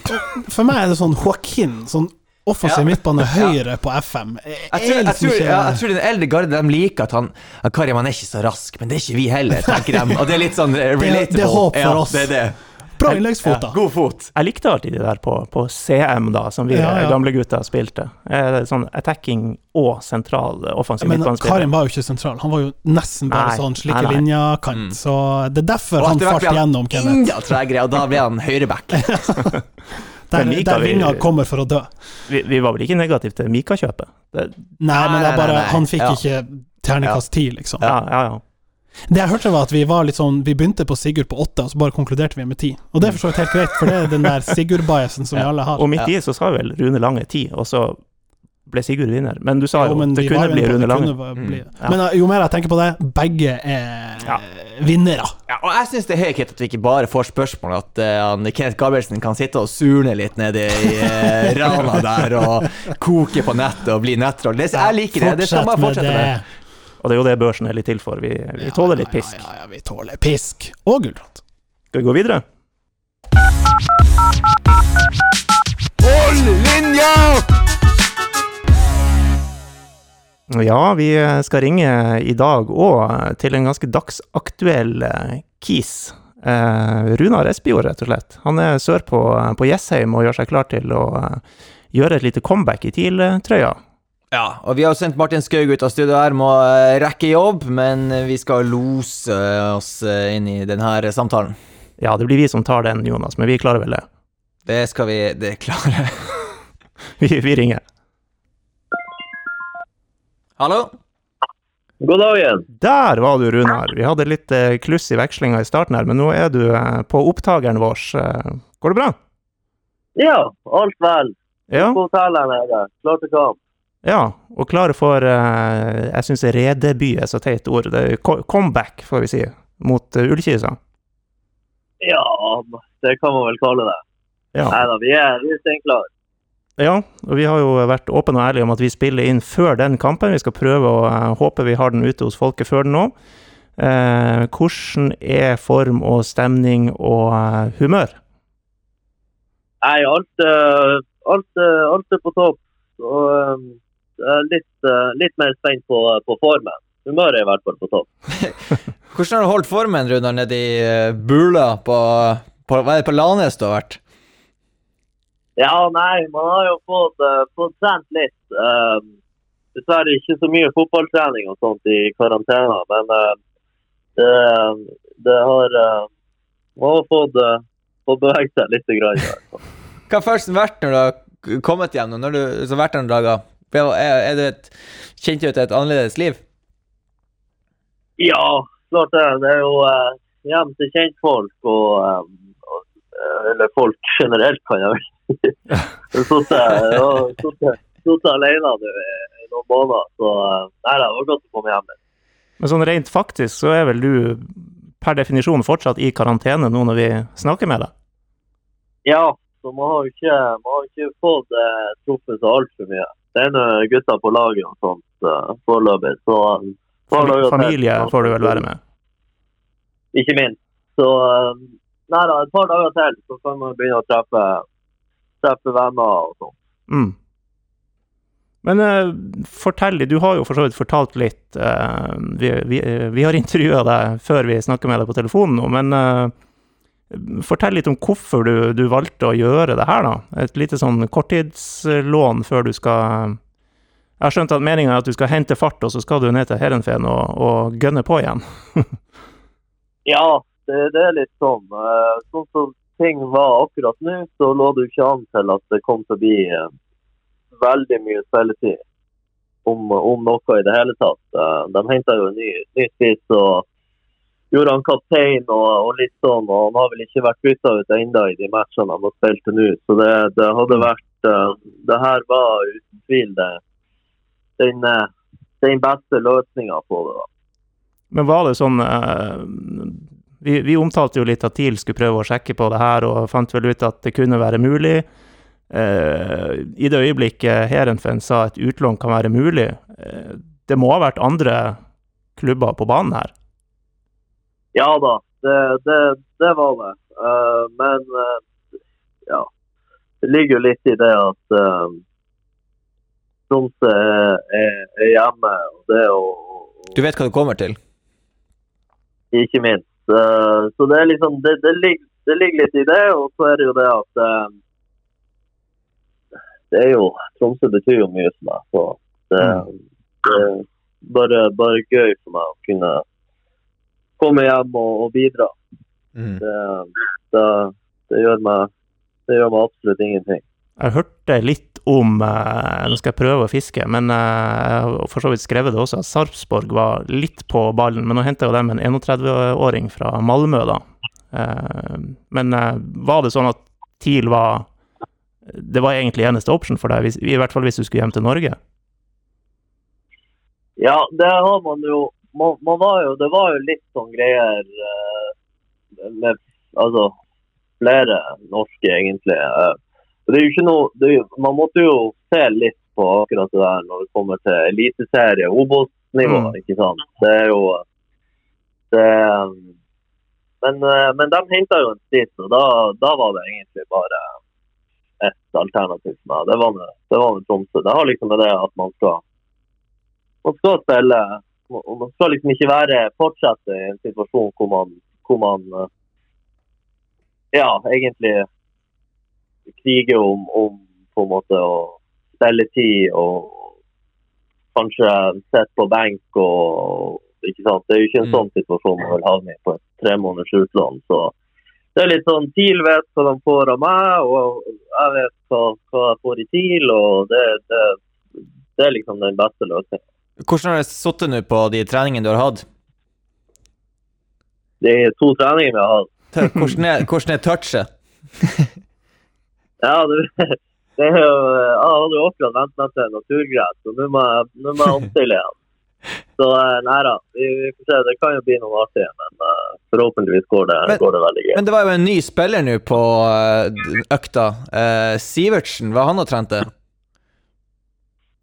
B: For meg er det sånn Joaquin, sånn offensiv
C: Ja.
B: midtbane høyre på FM. Jeg,
C: Jeg tror,
B: er
C: jeg,
B: liksom
C: tror,
B: ikke-
C: ja, jeg tror den eldre garde de liker at han at Karim han er ikke så rask, men det er ikke vi heller, tenker de. Og det er litt sånn eh,
B: Det er-
C: relatable.
B: det er håp for
C: ja,
B: oss.
C: Det er det.
B: Bra innleggsfot, da.
C: God fot.
A: Jeg likte alltid de der på, på CM, da, som vi
B: Ja, ja.
A: eh, gamle gutter spilte. Eh, sånn attacking og sentral eh, offensiv
B: Men Karim
A: midtbanespiller.
B: var jo ikke sentral. Han var jo nesten bare
A: Nei,
B: sånn
A: nei,
B: slike
A: nei.
B: linja-kant. Så det er derfor
C: Og
B: han
C: etter hvert
B: fart
C: blir han
B: gjennom, Kenneth.
C: enda tregere, og da blir han høyreback.
B: Der,
A: Men liker
B: der
A: vi-
B: vinga kommer for å dø.
A: Vi, vi var vel ikke negative til Mika-kjøpet? Det-
B: Nei, men det
C: nei,
B: er bare
C: nei.
B: Han fikk
C: Ja.
B: ikke terningkast ti, liksom.
A: Ja, ja, ja.
B: Det jeg hørte var at Vi var litt sånn Vi begynte på Sigurd på åtte, og så bare konkluderte vi med ti. Og det er for så vidt helt greit, for det er den der Sigurd-biasen som vi alle har.
A: Mm. Og midt i så sa vel Rune Lange 10, og så ble Sigurd vinner. Men du sa
B: Jo,
A: jo,
B: men
A: det
B: vi var
A: kunne
B: jo
A: bli
B: inne på
A: Rune
B: det,
A: Lange. Mm.
B: kunne bare bli-
A: ja.
B: Men uh, jo mer jeg tenker på det, begge er
A: Ja.
B: vinnere.
C: Ja, og jeg syns det er høyt at vi ikke bare får spørsmål, at eh, han, Kenneth Gabrielsen kan sitte og surne litt nede i eh, rana der og koke på nettet og bli nettroll. Det- Jeg liker det. Det skal man fortsette med.
A: Og det er jo det børsen er litt til for. Vi, vi tåler litt pisk.
B: Ja, ja, ja, vi tåler pisk. Og gulrot.
A: Skal vi gå videre?
C: Hold linja!
A: Ja, vi skal ringe i dag òg til en ganske dagsaktuell eh, kis. eh, Runar Espejord, rett og slett. Han er sørpå eh, på Jessheim og gjør seg klar til å eh, gjøre et lite comeback i TIL-trøya.
C: Ja, og vi har jo sendt Martin Skaug ut av studio her, må eh, rekke jobb, men eh, vi skal lose oss eh, inn i denne samtalen.
A: Ja, det blir vi som tar den, Jonas, men vi klarer vel det.
C: Det skal vi det klare.
A: Vi, vi ringer.
C: Hallo?
G: God dag igjen.
A: Der var du, Runar. Vi hadde litt eh, kluss i vekslinga i starten her, men nå er du eh, på opptakeren vår. Eh, Går det bra?
G: Ja, alt vel.
A: Ja?
G: På hotellet her nede. Klar til kamp.
A: ja. Og klare for eh, Jeg syns redebut er så teit ord. Det er co- comeback, får vi si, mot eh, Ullkisa.
G: Ja, det kan man vel kalle det.
A: Ja.
G: Nei da, vi er, vi er steinklare.
A: Ja, og vi har jo vært åpne og ærlige om at vi spiller inn før den kampen. Vi skal prøve å eh, håpe vi har den ute hos folket før den nå. Eh, hvordan er form og stemning og eh, humør?
G: Nei, alt, eh, alt, eh, alt er på topp. Og eh, jeg er litt, eh, litt mer spent på, eh, på formen. Humøret er i hvert fall på topp.
C: Hvordan har du holdt formen, Runar, nedi eh, bula på, på Hva er det på Lanes du har vært?
G: Ja, nei, man har jo fått, eh, fått trent litt. Eh, dessverre ikke så mye fotballtrening og sånt i karantena, men eh, det, det har eh, Man har fått, eh, fått beveget seg litt. Grann.
C: Hva har følelsen vært når du har k- kommet hjem? nå, Når du så har vært der noen dager? Ble- Er, er du et, kjente du til et annerledes liv?
G: Ja, klart det. Det er jo eh, hjem til kjentfolk og, eh, og eh, Eller folk generelt, kan jeg vel si. Jeg har sittet- jeg har sittet- sittet alene nå i i noen måneder, så eh, nei da, det var godt å komme hjem.
A: Men sånn rent faktisk så er vel du per definisjon fortsatt i karantene nå når vi snakker med deg?
G: Ja, så man har jo ikke, man har jo ikke fått eh, truffet så altfor mye. Det er nå gutta på laget og sånt eh, foreløpig. Så, eh,
A: Fam-
G: foreløpig-
A: Familie får du vel være med?
G: Ikke minst. Så eh, nei da, et par dager til så kan man begynne å treffe, treffe venner og sånn.
A: Mm. Men eh, fortell litt. Du har jo for så vidt fortalt litt. eh, vi, vi, eh, vi har intervjua deg før vi snakker med deg på telefonen nå, men eh, fortell litt om hvorfor du, du valgte å gjøre det her, da. Et lite sånn korttidslån før du skal Jeg har skjønt at meninga er at du skal hente fart, og så skal du ned til Heerenveen og, og gønne på igjen.
G: Ja, det, det er litt sånn. eh, Sånn som ting var akkurat nå, så lå det jo ikke an til at det kom til å bli eh, veldig mye spilletid. Om, om noe i det hele tatt. Eh, De henta jo en ny, ny spiss og gjorde han kaptein og, og litt sånn. Og han har vel ikke vært bytta ut ennå i de matchene han har spilt til nå. Så det, det hadde vært eh, Det her var uten tvil det, den, eh, den beste løsninga på det. da.
A: Men var det sånn eh, vi, vi omtalte jo litt at TIL skulle prøve å sjekke på det her, og fant vel ut at det kunne være mulig. Eh, I det øyeblikket Heerenveen sa at utlån kan være mulig, eh, det må ha vært andre klubber på banen her?
G: Ja da, det, det, det var det. Eh, men eh, ja, det ligger jo litt i det at uh, Tromsø er, er, er hjemme. og det er jo...
C: Du vet hva du kommer til?
G: Ikke minst. Eh, så det er liksom det, det, ligger, det ligger litt i det, og så er det jo det at eh, Det er jo Tromsø betyr jo mye for meg, så det, det er bare, bare gøy for meg å kunne komme hjem og, og bidra.
C: Mm.
G: Det, det, det, gjør meg, det gjør meg absolutt ingenting.
A: Jeg hørte litt om eh, Nå skal jeg prøve å fiske, men eh, jeg har for så vidt skrevet det også, at Sarpsborg var litt på ballen. Men nå henta jo dem en 31-åring fra Malmö, da. Eh, men eh, var det sånn at TIL var Det var egentlig eneste option for deg, hvis, i hvert fall hvis du skulle hjem til Norge?
G: Ja, det har man jo man, man var jo Det var jo litt sånn greier eh, med Altså flere norske, egentlig. eh. Og det er jo ikke noe det er, jo- Man måtte jo se litt på akkurat det der når det kommer til eliteserie, Obos-nivå,
A: Mm.
G: ikke sant. Det er jo det, men, eh, men de henta jo en spiss, og da, da var det egentlig bare ett alternativ for meg. Det var med, det var med Tromsø. Det har liksom med det at man skal man skal spille og Man skal liksom ikke være fortsette i en situasjon hvor man, hvor man eh, ja, egentlig krige om, om på en måte å spilletid og kanskje sitte på benk og ikke sant? Det er jo ikke en
E: Mm.
G: sånn situasjon man vil havne i på et tre måneders utlån. Så det er litt sånn TIL vet hva de får av meg, og jeg vet hva, hva jeg får i TIL, og det, det, det er liksom den beste løsningen.
C: Hvordan har det sittet nå på de treningene du har hatt?
G: Det er to treninger vi har hatt.
C: Hvordan er, hvordan er touchet?
G: Ja, du, det er jo, jeg hadde jo akkurat vent meg til naturgress, så nå må jeg nå må jeg omstille igjen. Så eh, nei da, vi, vi får se. Det kan jo bli noe artig, men eh, forhåpentligvis går det,
C: Men-
G: går det veldig greit.
C: Men det var jo en ny spiller nå på eh, d- økta. Eh, Sivertsen, hva han har trent det?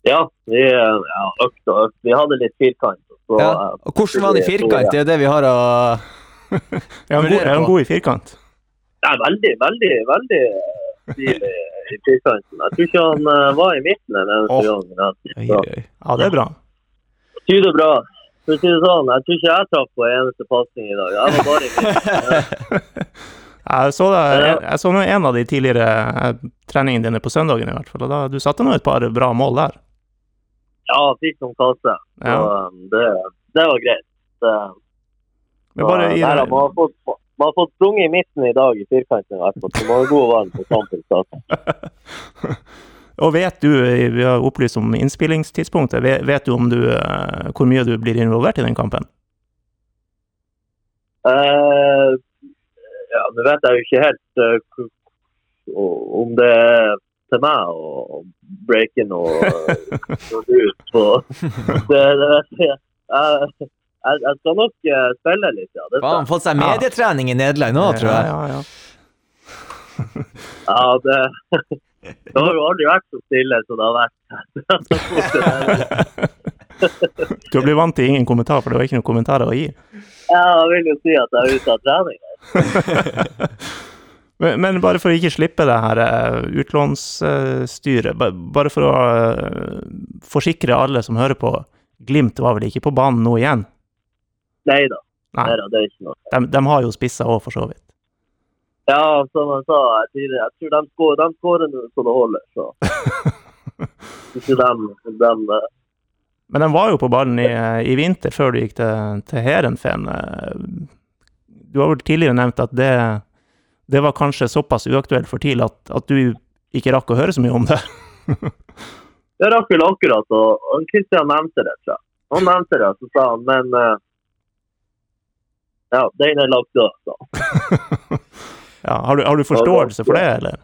G: Ja, vi eh, ja, økt og økt. Vi hadde litt firkant. Så
C: Ja.
G: eh,
C: Og hvordan var han i firkant? Det er det vi har å
A: Er han, god, er han god i firkant?
G: det er veldig, veldig, veldig eh, stil i, i firkanten. Jeg tror ikke han eh, var i midten den eneste gangen.
E: Oi,
G: Ja.
E: oi, oi.
A: Ja, det er bra.
G: tyder bra. For å si det sånn, jeg tror ikke jeg traff på en eneste pasning i dag. Jeg var bare i midten.
A: Jeg så, det, jeg, jeg så nå en av de tidligere eh, treningene dine på søndagen, i hvert fall. Og da, du satte nå et par bra mål der.
G: Ja, fikk noen kasse. Så
A: Ja.
G: um, det, det var greit. Det-
A: Men bare i,
G: Nei da, man, har fått, man har fått sprunget i midten i dag i firkanten i hvert fall. Så man er god vann på kampen. Så.
A: og vet du, vi har opplyst om innspillingstidspunktet, Ve- vet du om du eh, Hvor mye du blir involvert i den kampen?
G: Eh, ja, nå vet jeg jo ikke helt eh, k- k- om det er til meg å breake noe noe ut på. Det, det vet jeg. Jeg, jeg, jeg skal nok eh, spille litt, ja. Det skal.
C: Faen,
G: jeg.
C: fått seg medietrening i Nederland nå, tror jeg.
A: Ja, ja, ja.
G: Ja, det, det har jo aldri vært så stille som det har vært.
A: Du blir vant til ingen kommentar, for det var ikke noen kommentarer å gi.
G: Ja, jeg vil jo si at jeg er ute av trening.
A: Men, men bare for å ikke slippe det her eh, utlånsstyret, ba- bare for å eh, forsikre alle som hører på, Glimt var vel ikke på banen nå igjen?
G: Nei da.
A: Nei.
G: Nei da, det er ikke noe.
A: De, de har jo spisser òg, for så vidt.
G: Ja, som jeg sa tidligere, jeg tror de skårer, de skårer nå så det holder. Så. Ikke dem, dem eh,
A: Men de var jo på ballen i, i vinter, før du gikk til, til Heerenveen. Eh, Du har vel tidligere nevnt at det, det var kanskje såpass uaktuelt for TIL at, at du ikke rakk å høre så mye om det.
G: Jeg rakk vel akkurat, og og Christian nevnte det, tror jeg. Han nevnte det, så sa han, men eh, Ja, den er lagt død, sa han.
A: Ja, har, du, har du forståelse for det, eller?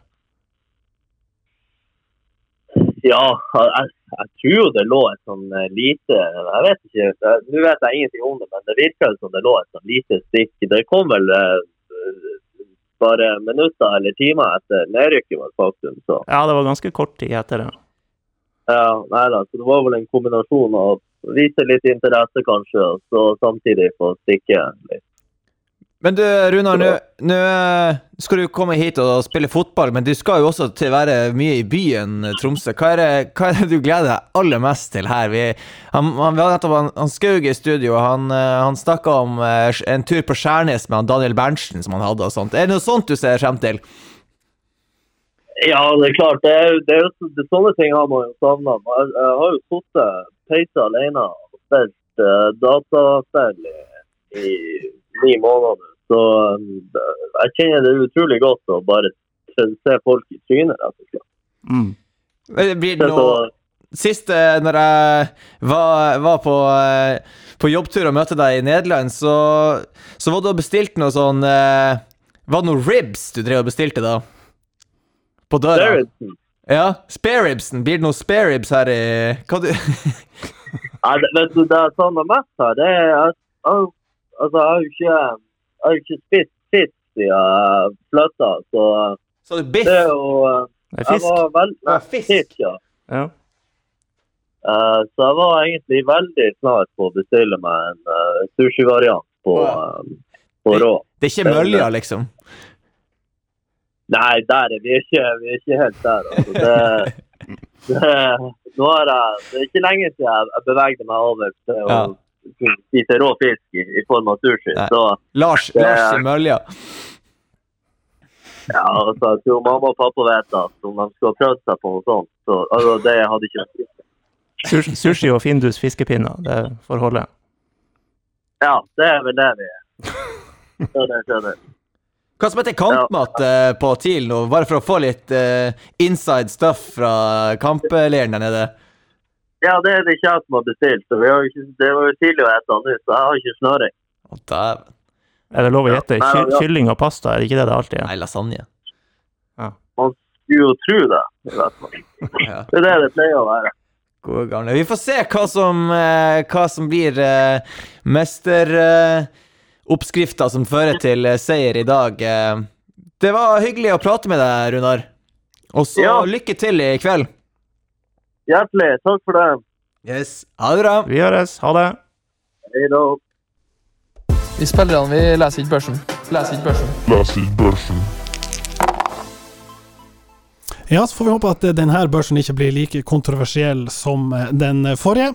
G: Ja, jeg, jeg tror jo det lå et sånn eh, lite Jeg vet ikke, jeg- nå vet jeg ingenting om det, men det virka som det lå et sånn lite stikk. Det kom vel eh, bare minutter eller timer etter nedrykket var et faktum, så
A: Ja, det var ganske kort tid etter det.
G: Ja, nei da. Så det var vel en kombinasjon av å vise litt interesse, kanskje, og så samtidig få stikke litt.
C: Men du, Runar, nå- nå eh, skal du komme hit og spille fotball, men du skal jo også til være mye i byen eh, Tromsø. Hva er det, hva er det du gleder deg aller mest til her? Vi, han, han, vi hadde nettopp han, han Skaug i studio, han, eh, han snakka om eh, en tur på Skjærnes med han Daniel Berntsen som han hadde og sånt. Er det noe sånt du ser frem til?
G: Ja, det er klart. Det er, jo- det er jo det, sånne ting har man jo savna. Jeg, jeg har jo sittet peisa alene og spilt eh, dataspill i, i ni måneder. Så um, jeg kjenner det utrolig godt å bare se folk i trynet, rett og slett.
A: Mm.
C: Eh, Blir det
G: Så,
C: noe Sist eh, når jeg var, var på, eh, på jobbtur og møtte deg i Nederland, så, så var du og bestilte noe sånn eh, Var det noe ribs du drev og bestilte da? På døra?
G: Saracen.
C: Ja, spareribsen. Blir det noe spareribs her i Hva du
G: Nei, det- vet du, det jeg savner mest her, det er at jeg- Altså, jeg har jo ikke, jeg har jo ikke spist fisk siden jeg flytta, så eh,
C: Sa du biff?
G: det er jo eh,
A: Det er
G: Jeg
A: fisk.
G: var veld...
C: Ah,
G: Nei,
C: fisk.
G: fisk, ja.
A: Ja.
G: Eh, så jeg var egentlig veldig snar på å bestille meg en eh, sushi-variant på,
C: Å,
G: eh, på rå.
C: Det er ikke mølja, liksom?
G: Nei, der er vi ikke. Vi er ikke helt der. Altså. Det, det, nå er jeg, det er ikke lenge siden jeg, jeg bevegde meg over til å
C: Ja.
G: kunne spise rå fisk i, i form av sushi.
C: Nei.
G: Så
C: Lars,
G: Det-
C: Lars i mølja.
G: Ja, altså, jeg tror mamma og pappa vet at om de skulle ha prøvd seg på noe sånt, så altså, det hadde ikke
A: Sus- Sushi og Findus fiskepinner, det får holde.
G: Ja, det er vel det vi er. Skjønner, skjønner.
C: Hva som heter kampmat eh, på TIL nå, bare for å få litt eh, inside stuff fra kampleiren der nede?
G: Ja, det er det ikke jeg som har bestilt. og vi har jo ikke- Det var jo tidlig å ete nå, så jeg har ikke snøring.
C: Å, dæven.
A: Er det lov å gjette?
G: Nei,
A: Ky-
G: ja.
A: Kylling og pasta, er det ikke det det alltid er?
C: Nei, lasagne.
G: Skulle jo tro det. i hvert fall.
C: Ja.
G: Det er det det pleier å være.
C: Gode gamle. Vi får se hva som, eh, hva som blir eh, mesteroppskrifta som fører til eh, seier i dag. Eh, det var hyggelig å prate med deg, Runar. Og så
G: Ja.
C: lykke til i kveld.
G: Hjertelig takk for det.
C: Yes. Ha det bra.
A: Vi høres, ha det!
G: Hei da.
H: Vi spillerne, vi leser ikke børsen. Leser ikke børsen.
B: Ja, så får vi håpe at eh, denne børsen ikke blir like kontroversiell som eh, den forrige.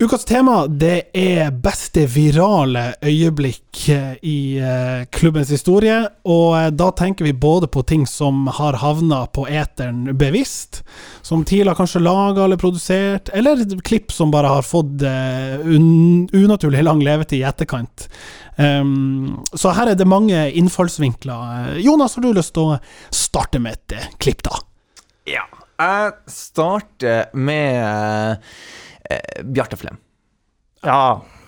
B: Ukas tema det er beste virale øyeblikk eh, i eh, klubbens historie. Og eh, da tenker vi både på ting som har havna på eteren bevisst, som TIL har kanskje laga eller produsert, eller klipp som bare har fått eh, un unaturlig lang levetid i etterkant. Ehm, så her er det mange innfallsvinkler. Eh, Jonas, har du lyst til å starte med et eh, klipp, da?
C: Ja. Jeg starter med eh, Bjarte Flem.
A: Ja.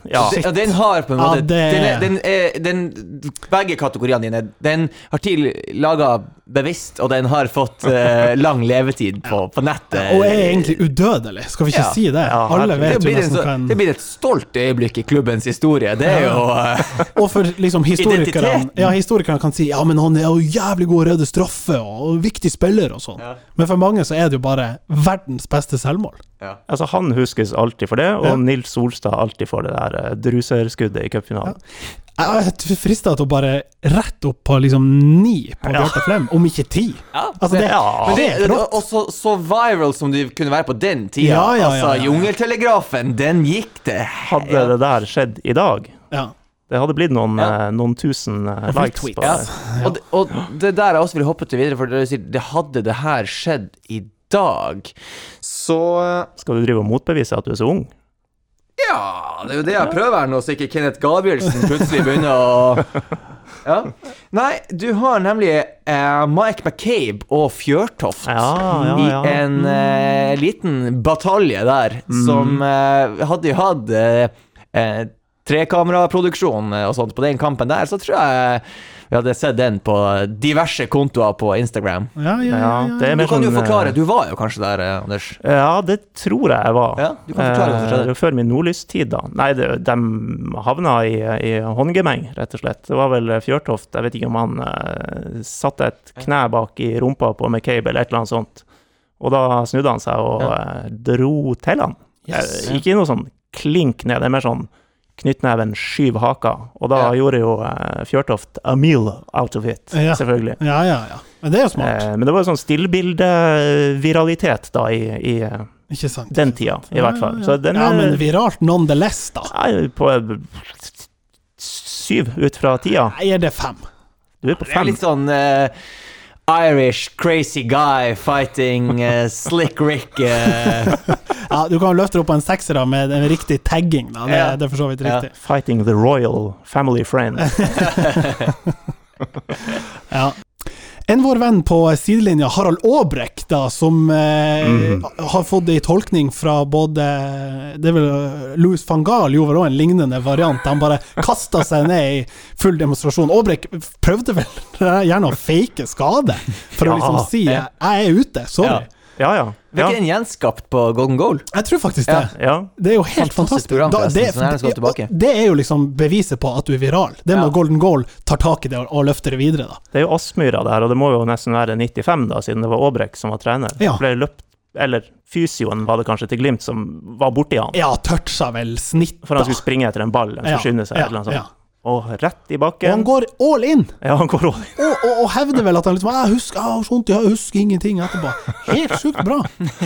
A: ja.
C: Det- og Den har på en måte
B: Ja, det-
C: den, er, den, er, den Begge kategoriene dine. Den har TIL laga bevisst, og den har fått eh, lang levetid på, på nettet.
B: Og er egentlig udødelig, skal vi ikke
C: Ja.
B: si det?
A: Ja,
B: Alle
C: det
B: vet jo
C: blir, en,
B: nesten hva
C: så- det
B: en
C: blir et stolt øyeblikk i klubbens historie. Det er jo eh,
B: Og for liksom historikerne
C: Identiteten.
B: Ja, historikerne kan si Ja, men han er jo jævlig god å redde straffe, og og viktig spiller, og sånn. Men for mange så er det jo bare verdens beste selvmål.
A: Altså, han huskes alltid for det, og
B: Ja.
A: Nils Solstad alltid for det der eh, druserskuddet i cupfinalen.
B: Jeg er frista til å bare rett opp på liksom ni på Bjarte Flem, om ikke ti. Altså, det,
A: Ja.
B: det er rått.
C: Og så, så viral som de kunne være på den tida.
B: Ja, ja, ja,
C: Altså,
B: ja.
C: Jungeltelegrafen, den gikk det.
A: Hadde det der skjedd i dag,
B: Ja.
A: det hadde blitt noen,
C: Ja.
A: eh, noen tusen eh,
B: Og
A: likes
B: retweets.
A: på
C: Ja.
A: det.
C: Og, det, og det der jeg også vil hoppe til videre, for det, du sier, det hadde det her skjedd i dag, så
A: Skal du drive og motbevise at du er så ung?
C: Ja, det er jo det jeg prøver her nå, så ikke Kenneth Gabrielsen plutselig begynner å ja. Nei, du har nemlig eh, Mike McCabe og Fjørtoft
A: Ja, ja, ja.
C: i en eh, liten batalje der,
A: Mm.
C: som eh, hadde de hatt eh, eh, trekameraproduksjon eh, og sånt på den kampen der, så tror jeg vi hadde sett den på diverse kontoer på Instagram.
B: Ja, ja, ja,
A: Ja,
B: ja.
A: det er
C: Du
A: mer
C: kan jo
A: sånn, eh,
C: forklare, du var jo kanskje der, eh, Anders.
A: Ja, det tror jeg jeg var.
C: Ja, du kan forklare hva
A: Eh,
C: som skjedde.
A: det var før min nordlystid, da. Nei, det, de havna i, i håndgemeng, rett og slett. Det var vel eh, Fjørtoft, jeg vet ikke om han eh, satte et kne bak i rumpa på McCabe eller et eller annet sånt. Og da snudde han seg og eh, dro til han.
B: Yes.
A: Eh, ikke noe sånn klink ned, det er mer sånn knyttneven, skyv haka. Og da gjorde jo eh, Fjørtoft a meal out of it,
B: Ja.
A: selvfølgelig.
B: ja, ja, ja. Men det er jo smart,
A: Eh, men det var jo sånn stillbildeviralitet da i, i eh,
B: ikke sant?
A: den tida, i hvert fall. Så den
B: Ah,
A: eh,
B: ja, men
A: er
B: viralt nonetheless, da.
A: Nei, på eh, syv ut fra tida.
B: Nei, er det fem?
A: Du er på
C: Det er
A: fem.
C: litt sånn eh, Irish crazy guy fighting eh, slick Rick. eh.
B: Ja, du kan jo løfte det opp på en sekser da, med en riktig tagging. Da. Det,
C: Ja.
B: det er for så vidt
C: Ja.
B: riktig.
A: Fighting the royal family friend.
B: Eh, Ja. Enn vår venn på sidelinja, Harald Aabrekk, da, som eh, har fått ei tolkning fra både Det er vel eh, Louis van Gaal gjorde vel også en lignende variant. Han bare kasta seg ned i full demonstrasjon. Aabrekk prøvde vel gjerne å fake skade, for å
A: Ja.
B: liksom si 'jeg er ute, sorry'.
C: Ja.
A: Ja, ja.
C: Ble
A: Ja,
C: ikke den gjenskapt på Golden Goal?
B: Jeg tror faktisk det.
A: ja.
B: Det er jo helt fantastisk.
C: Fantastisk program,
B: Da-
C: forresten, så den er den skal tilbake.
B: det er jo liksom beviset på at du er viral. Det med
C: Ja.
B: Golden Goal tar tak i det og, og løfter det videre, da.
A: Det er jo Aspmyra det her, og det må jo nesten være 95, da, siden det var Aabrekk som var trener.
B: Ja.
A: Ble løpt Eller fysioen var det kanskje til Glimt som var borti han.
B: Ja, toucha vel snitt,
A: For han skulle springe etter en ball, han skulle
B: Ja,
A: skynde seg,
B: ja,
A: eller noe
B: ja.
A: sånt. Og rett i
B: Og han
A: bakken.
B: går all in,
A: Ja, han går over.
B: og, og, og hevder vel at han liksom Jeg husker, jeg har så vondt, jeg husker ingenting etterpå. Helt sjukt bra.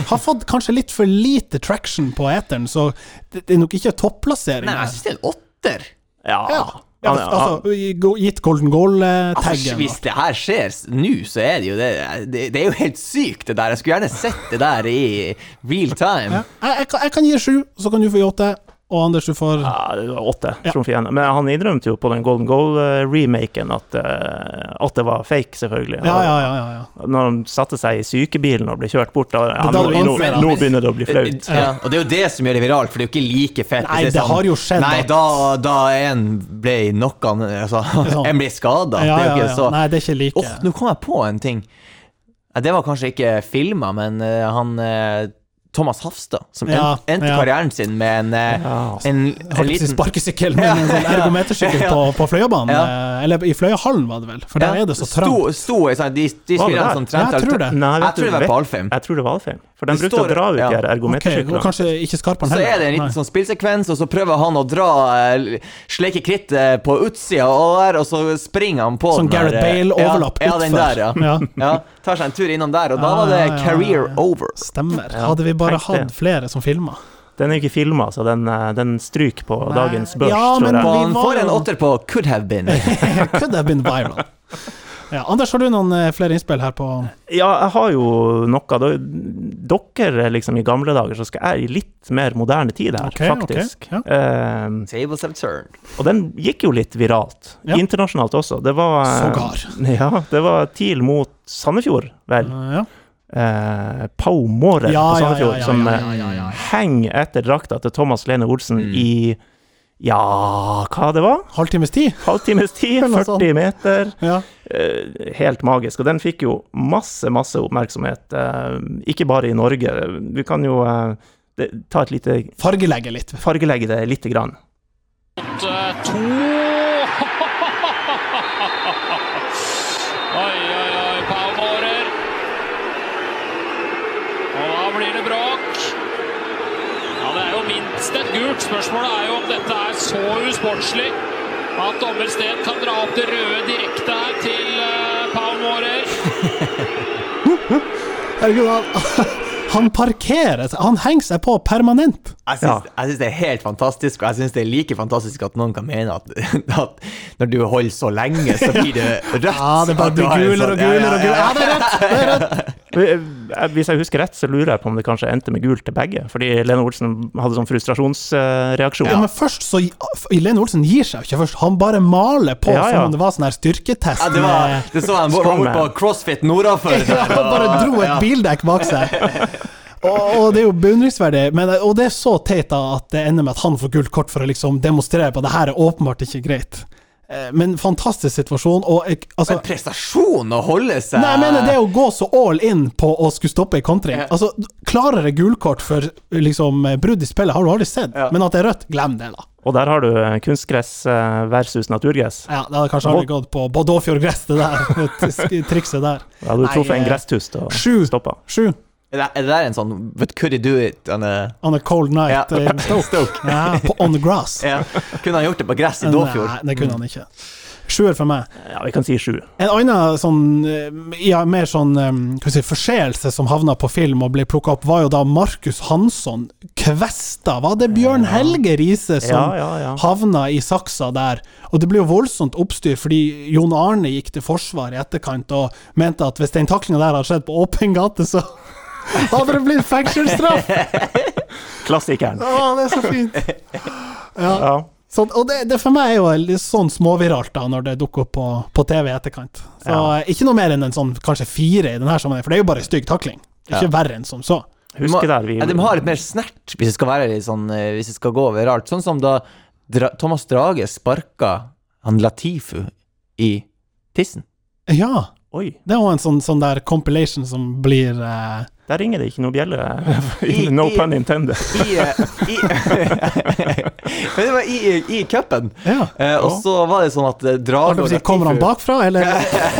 B: Har fått kanskje litt for lite traction på eteren, så det, det er nok ikke topplassering.
C: Nei,
B: her.
C: altså, jeg syns det er en åtter.
A: Ja.
B: Ja. Ja,
A: Han-
B: altså, i- go- gitt golden eh,
C: Altså,
B: goal-taggen.
C: hvis det her skjer s- nå, så er det jo det, det Det er jo helt sykt, det der. Jeg skulle gjerne sett det der i real
B: Ja.
C: time.
B: Jeg, jeg, kan- jeg kan gi sju, så kan du få gi åtte. Og Anders, du får
A: Ja, det var åtte.
B: Ja.
A: trumfer igjen. Men han innrømte jo på den Golden Goal-remaken at, eh, at det var fake, selvfølgelig.
B: Ja, ja, ja. ja, ja.
A: Når han satte seg i sykebilen og ble kjørt bort da, ja,
B: da
A: nå,
B: er det
A: nå,
B: vanskelig, da.
A: nå begynner det å bli flaut.
C: Eh, Ja, og det er jo det som gjør det viralt, for det er jo ikke like fett. hvis
B: Nei,
C: er sånn,
B: det har jo skjedd
C: Nei,
B: at-
C: da, da en ble knocka altså,
B: sant.
C: En ble skada.
B: sånn. ja,
C: det er jo
B: ja,
C: ikke
B: ja.
C: så
B: Nei, det er ikke like.
C: Åh, nå kom jeg på en ting. Ja, Det var kanskje ikke filma, men eh, han eh, Thomas Hafstad, som
B: Ja,
C: endte, endte
B: ja.
C: karrieren sin med en, eh,
A: Ja.
C: en,
B: Jeg
C: en
B: holdt på å si
C: liten
B: sparkesykkel, men en sånn
C: Ja, ja.
B: ergometersykkel på, på Fløyabanen.
C: Ja.
B: eh, Eller i Fløyahallen, var det vel, for der er det så
C: Sto,
B: trangt.
C: sto, i sånn, de, de
A: Var det
C: spillerne
A: der?
C: som trente
B: Ja, jeg tror det.
A: Nei, vet
C: Jeg
A: du,
C: tror det
A: vet-
C: var på Alfheim.
A: Jeg tror den var feil, for den
C: Det
A: brukte
C: står-
A: å dra ut
C: ja.
A: de her
B: Ok, og
A: ergometersyklene.
B: kanskje ikke skarperen
C: Så
B: heller.
C: er det en liten
B: Nei.
C: sånn spillsekvens, og så prøver han å dra eh, sleike kritt eh, på utsida, og, der, og så springer han på
B: Sånn
C: den der,
B: Gareth
C: eh,
B: Bale-overlapp
C: ja, ja, den
B: utfor.
C: der, ja.
B: Ja.
C: ja. Tar seg en tur innom der, og da
B: Ja,
C: var det
B: ja, ja, ja,
C: career
B: ja.
C: over.
B: Stemmer.
A: Ja,
B: Hadde vi bare
A: tenk det.
B: hatt flere som filma.
A: Den er jo ikke filma, så den, eh, den stryker på
B: Nei.
A: dagens børs,
B: Ja, men
A: tror
C: Og
A: jeg.
B: vi
C: han
B: var
C: får
B: jo-
C: en åtter på could have been.
B: Could have been viral. Ja, Anders, har du noen eh, flere innspill her på
A: Ja, jeg har jo noe da, Dere er liksom i gamle dager, så skal jeg i litt mer moderne tid her,
B: Ok, ok,
A: faktisk.
B: ja.
A: Eh,
C: Tables have turned.
A: Og den gikk jo litt viralt.
B: Ja.
A: Internasjonalt også. Det var eh,
B: Sågar. Ah.
A: Ja, det var TIL mot Sandefjord, vel.
B: Ja.
A: Eh, Pau Mårer
B: Ja,
A: på
B: ja,
A: Sandefjord,
B: ja, ja,
A: som
B: ja,
A: eh,
B: ja, ja, ja, ja.
A: henger etter drakta til Thomas Lene Olsen i ja, hva det var?
B: Halvtimes tid?
A: Halvtimes tid,
B: Eller noe sånt.
A: 40 meter.
B: Ja.
A: Eh, helt magisk. Og den fikk jo masse, masse oppmerksomhet. Eh, ikke bare i Norge. Vi kan jo eh, det, ta et lite
B: Fargelegge litt.
A: Fargelegge det lite grann.
I: Oi, oi, oi, Pau Mårer. Og da blir det bråk. Ja, det er jo minst et gult. Spørsmålet er jo om dette er så usportslig at dommer Steen kan dra opp det røde direkte her til eh, Pau Mårer.
B: Herregud, han, han parkerer seg. Han henger seg på permanent.
C: Jeg syns, jeg syns det er helt fantastisk, og jeg syns det er like fantastisk at noen kan mene at, at når du holder så lenge, så blir Ah, det rødt.
B: Ja, det bare
C: At du
B: blir
C: har en
B: gulere og
C: sånn- ja, ja,
B: gulere og gulere.
C: ja,
B: Ja, det er rett! Det er rett.
A: Eh, eh, Hvis jeg husker rett, så lurer jeg på om det kanskje endte med gult til begge. Fordi Lene Olsen hadde sånn frustrasjonsreaksjon.
B: Ja, men først så Lene Olsen gir seg jo ikke først. Han bare maler på
A: Ja, ja.
B: som om det var sånn her styrketest.
C: Ja, det, var,
B: med-
C: det så jeg var borte på CrossFit nordafor.
B: Ja,
C: der,
B: han bare
C: og-
B: dro et
C: ja.
B: bildekk bak seg. Og, og det er jo beundringsverdig, men, og det er så teit da at det ender med at han får gult kort for å liksom demonstrere på at det her er åpenbart ikke greit. Eh, Men fantastisk situasjon, og jeg- altså
C: Men prestasjon å holde seg
B: Nei, jeg mener det å gå så all in på å skulle stoppe ei kontring.
C: Ja.
B: Altså, klarere gulkort for liksom brudd i spillet har du aldri sett, men at det er rødt, glem det, da.
A: Og der har du eh, kunstgress eh, versus naturgress.
B: Ja, det hadde kanskje aldri gått på Bådåfjord gress, det der det sk- trikset der.
A: Da hadde du
B: Nei,
A: truffet en
B: eh,
A: gresstust og
B: sju.
A: stoppa.
B: Sju
C: Er det- Er det der en sånn But could he do it? on a-
B: on a cold night
C: Ja.
B: in Stoke. Ja, på on the grass. eh,
C: ja. Kunne han gjort det på gress i Dåfjord?
B: Nei, det kunne han ikke. Sjuer for meg.
A: Ja, vi kan si sju.
B: En annen sånn, eh, ja, mer sånn eh, hva skal jeg si, forseelse som havna på film og ble plukka opp, var jo da Markus Hansson kvesta Var det Bjørn Helge Riise som
A: Ja, ja, ja.
B: havna i saksa der? Og det ble jo voldsomt oppstyr, fordi Jon Arne gikk til forsvar i etterkant og mente at hvis den taklinga der hadde skjedd på åpen gate, så hadde det blitt fengselsstraff!
A: Klassikeren.
B: Å, det er så fint!
A: Ja.
B: Sånn, og det, det for meg er jo litt sånn småviralt da, når det dukker opp på, på TV i etterkant. Så
A: Ja.
B: eh, Ikke noe mer enn en sånn kanskje fire i denne sammenhengen, for det er jo bare stygg takling. Ikke verre enn som så.
C: De må-
A: Husker der vi
C: ja, De har litt mer snert, hvis det skal være litt sånn eh, Hvis det skal gå overalt. Sånn som da Dra Thomas Drage sparka han Latifu i tissen.
B: Ja,
A: Oi,
B: det er jo en sånn, sånn der compilation som blir eh,
A: der ringer det ikke noe bjelle.
C: I-
A: no
C: i-
A: pun intended.
C: I, eh, i, Men det var i, i, i cupen.
B: Ja.
C: Eh, og så var det sånn at eh, Drage
B: Hva
C: og
B: skal jeg si, Kommer han
C: Latifu-
B: bakfra, eller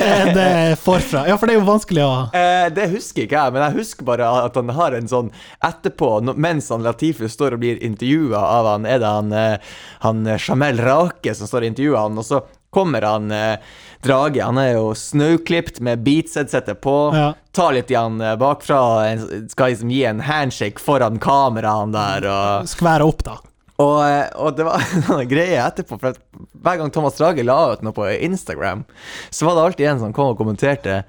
B: er det forfra? Ja, for det er jo vanskelig å
C: Eh, det husker ikke jeg, men jeg husker bare at han har en sånn etterpå, no- mens han Latifu står og blir intervjua av han, er det han, eh, han eh, Jamel Rake som står og intervjuer han, og så kommer han eh, Drage. Han er jo snauklipt med beatset-settet på.
B: Ja.
C: Tar litt i han eh, bakfra, en- skal liksom gi en handshake foran kameraet der, og
B: skvære opp, da.
C: Og, eh, og det var noen greier etterpå, for at hver gang Thomas Drage la ut noe på Instagram, så var det alltid en som kom og kommenterte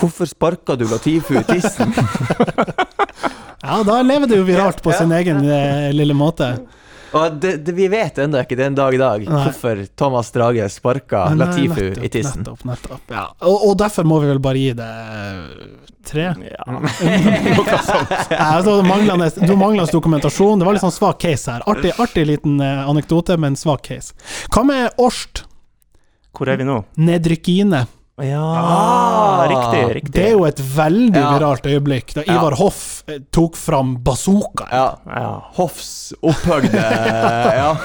C: 'Hvorfor sparka du Latifu i tissen?'
B: Ja, da lever det jo viralt på
C: Ja,
B: sin egen eh, lille måte.
C: og det, det, vi vet ennå ikke den dag i dag
B: Nei.
C: hvorfor Thomas Drage sparka
B: Nei,
C: Latifu
B: nettopp,
C: i tissen.
B: Nettopp, nettopp. Ja. Og, og derfor må vi vel bare gi det eh, tre? Ja, altså, det manglende, du manglende dokumentasjon. Det var litt sånn svak case her. Artig, artig liten eh, anekdote, men svak case. Hva med Årst?
A: Hvor er vi nå?
B: Nedrykkine.
A: Ja,
C: Ah!
A: riktig. riktig.
B: Det er jo et veldig
C: Ja.
B: viralt øyeblikk, da Ivar Hoff eh, tok fram bazooka.
C: Ja.
A: ja.
C: Hoffs opphøgde Ja.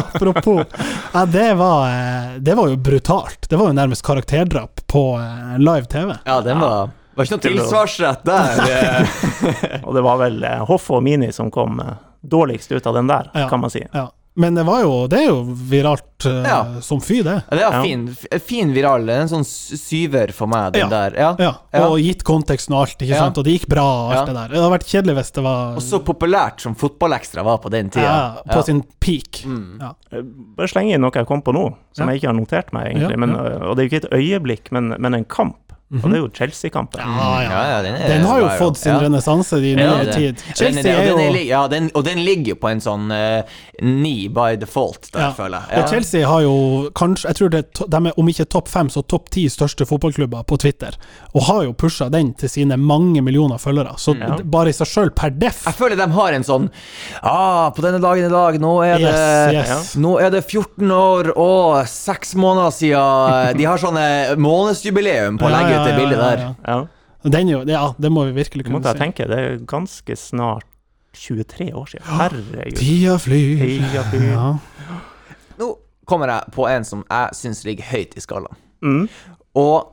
B: Apropos. Ja, det var, eh, det var jo brutalt. Det var jo nærmest karakterdrap på eh, live TV.
C: ja, den var Var ikke noe
A: Til å-
C: tilsvarsrett der.
A: Og det var vel eh, Hoff og Mini som kom eh, dårligst ut av den der,
B: Ja.
A: kan man si.
B: Ja. Men det var jo Det er jo viralt eh,
C: Ja.
B: som fy, det.
C: Ja, det var
A: Ja.
C: fin, fin viral. En sånn syver for meg, den
B: Ja.
C: der. Ja.
B: Ja. Og gitt konteksten og alt, ikke
C: Ja.
B: sant. Og det gikk bra og alt det
C: Ja.
B: der. Det hadde vært kjedelig hvis det var
C: Og så populært som fotballekstra var på den tida.
B: ja, på sin peak.
C: Mm.
B: Ja.
A: Bare slenge inn noe jeg kom på nå, som
B: Ja.
A: jeg ikke har notert meg, egentlig.
B: Ja, Mhm.
A: Men, eh, og det er jo ikke et øyeblikk, men, men en kamp. Og det er jo Chelsea-kampen.
B: Ah, Ja, ja.
C: Ja, ja, den, er
B: Den har jo
C: viral.
B: fått sin
C: Ja.
B: renessanse i
C: Ja,
B: nyere
C: det-
B: tid.
C: Den er det,
B: Chelsea
C: og
B: er
C: den er
B: jo
C: li- ja, den, og den ligger jo på en sånn eh, ni by default, der,
B: ja.
C: føler
B: Og
C: jeg.
B: Chelsea har jo kanskje Jeg tror det er to, de er om ikke topp fem, så topp ti største fotballklubber på Twitter, og har jo pusha den til sine mange millioner følgere. Så
A: Ja.
B: bare i seg sjøl, per deff
C: Jeg føler de har en sånn ah, På denne dagen i dag, nå er det
B: Yes, yes.
C: Nå er det 14 år og 6 måneder siden De har sånne månedsjubileum på å
B: Ja,
C: legge ut
B: ja, ja,
C: det bildet
B: ja,
C: der.
B: ja.
A: Ja.
B: Den er jo, ja, det må vi virkelig
A: Du
B: kunne
A: måtte jeg
B: si.
A: tenke, det er ganske snart 23 år siden. Herregud.
B: Tida flyr.
A: Tida flyr.
B: Ja.
C: Nå kommer jeg på en som jeg syns ligger høyt i skalaen.
A: Mm.
C: Og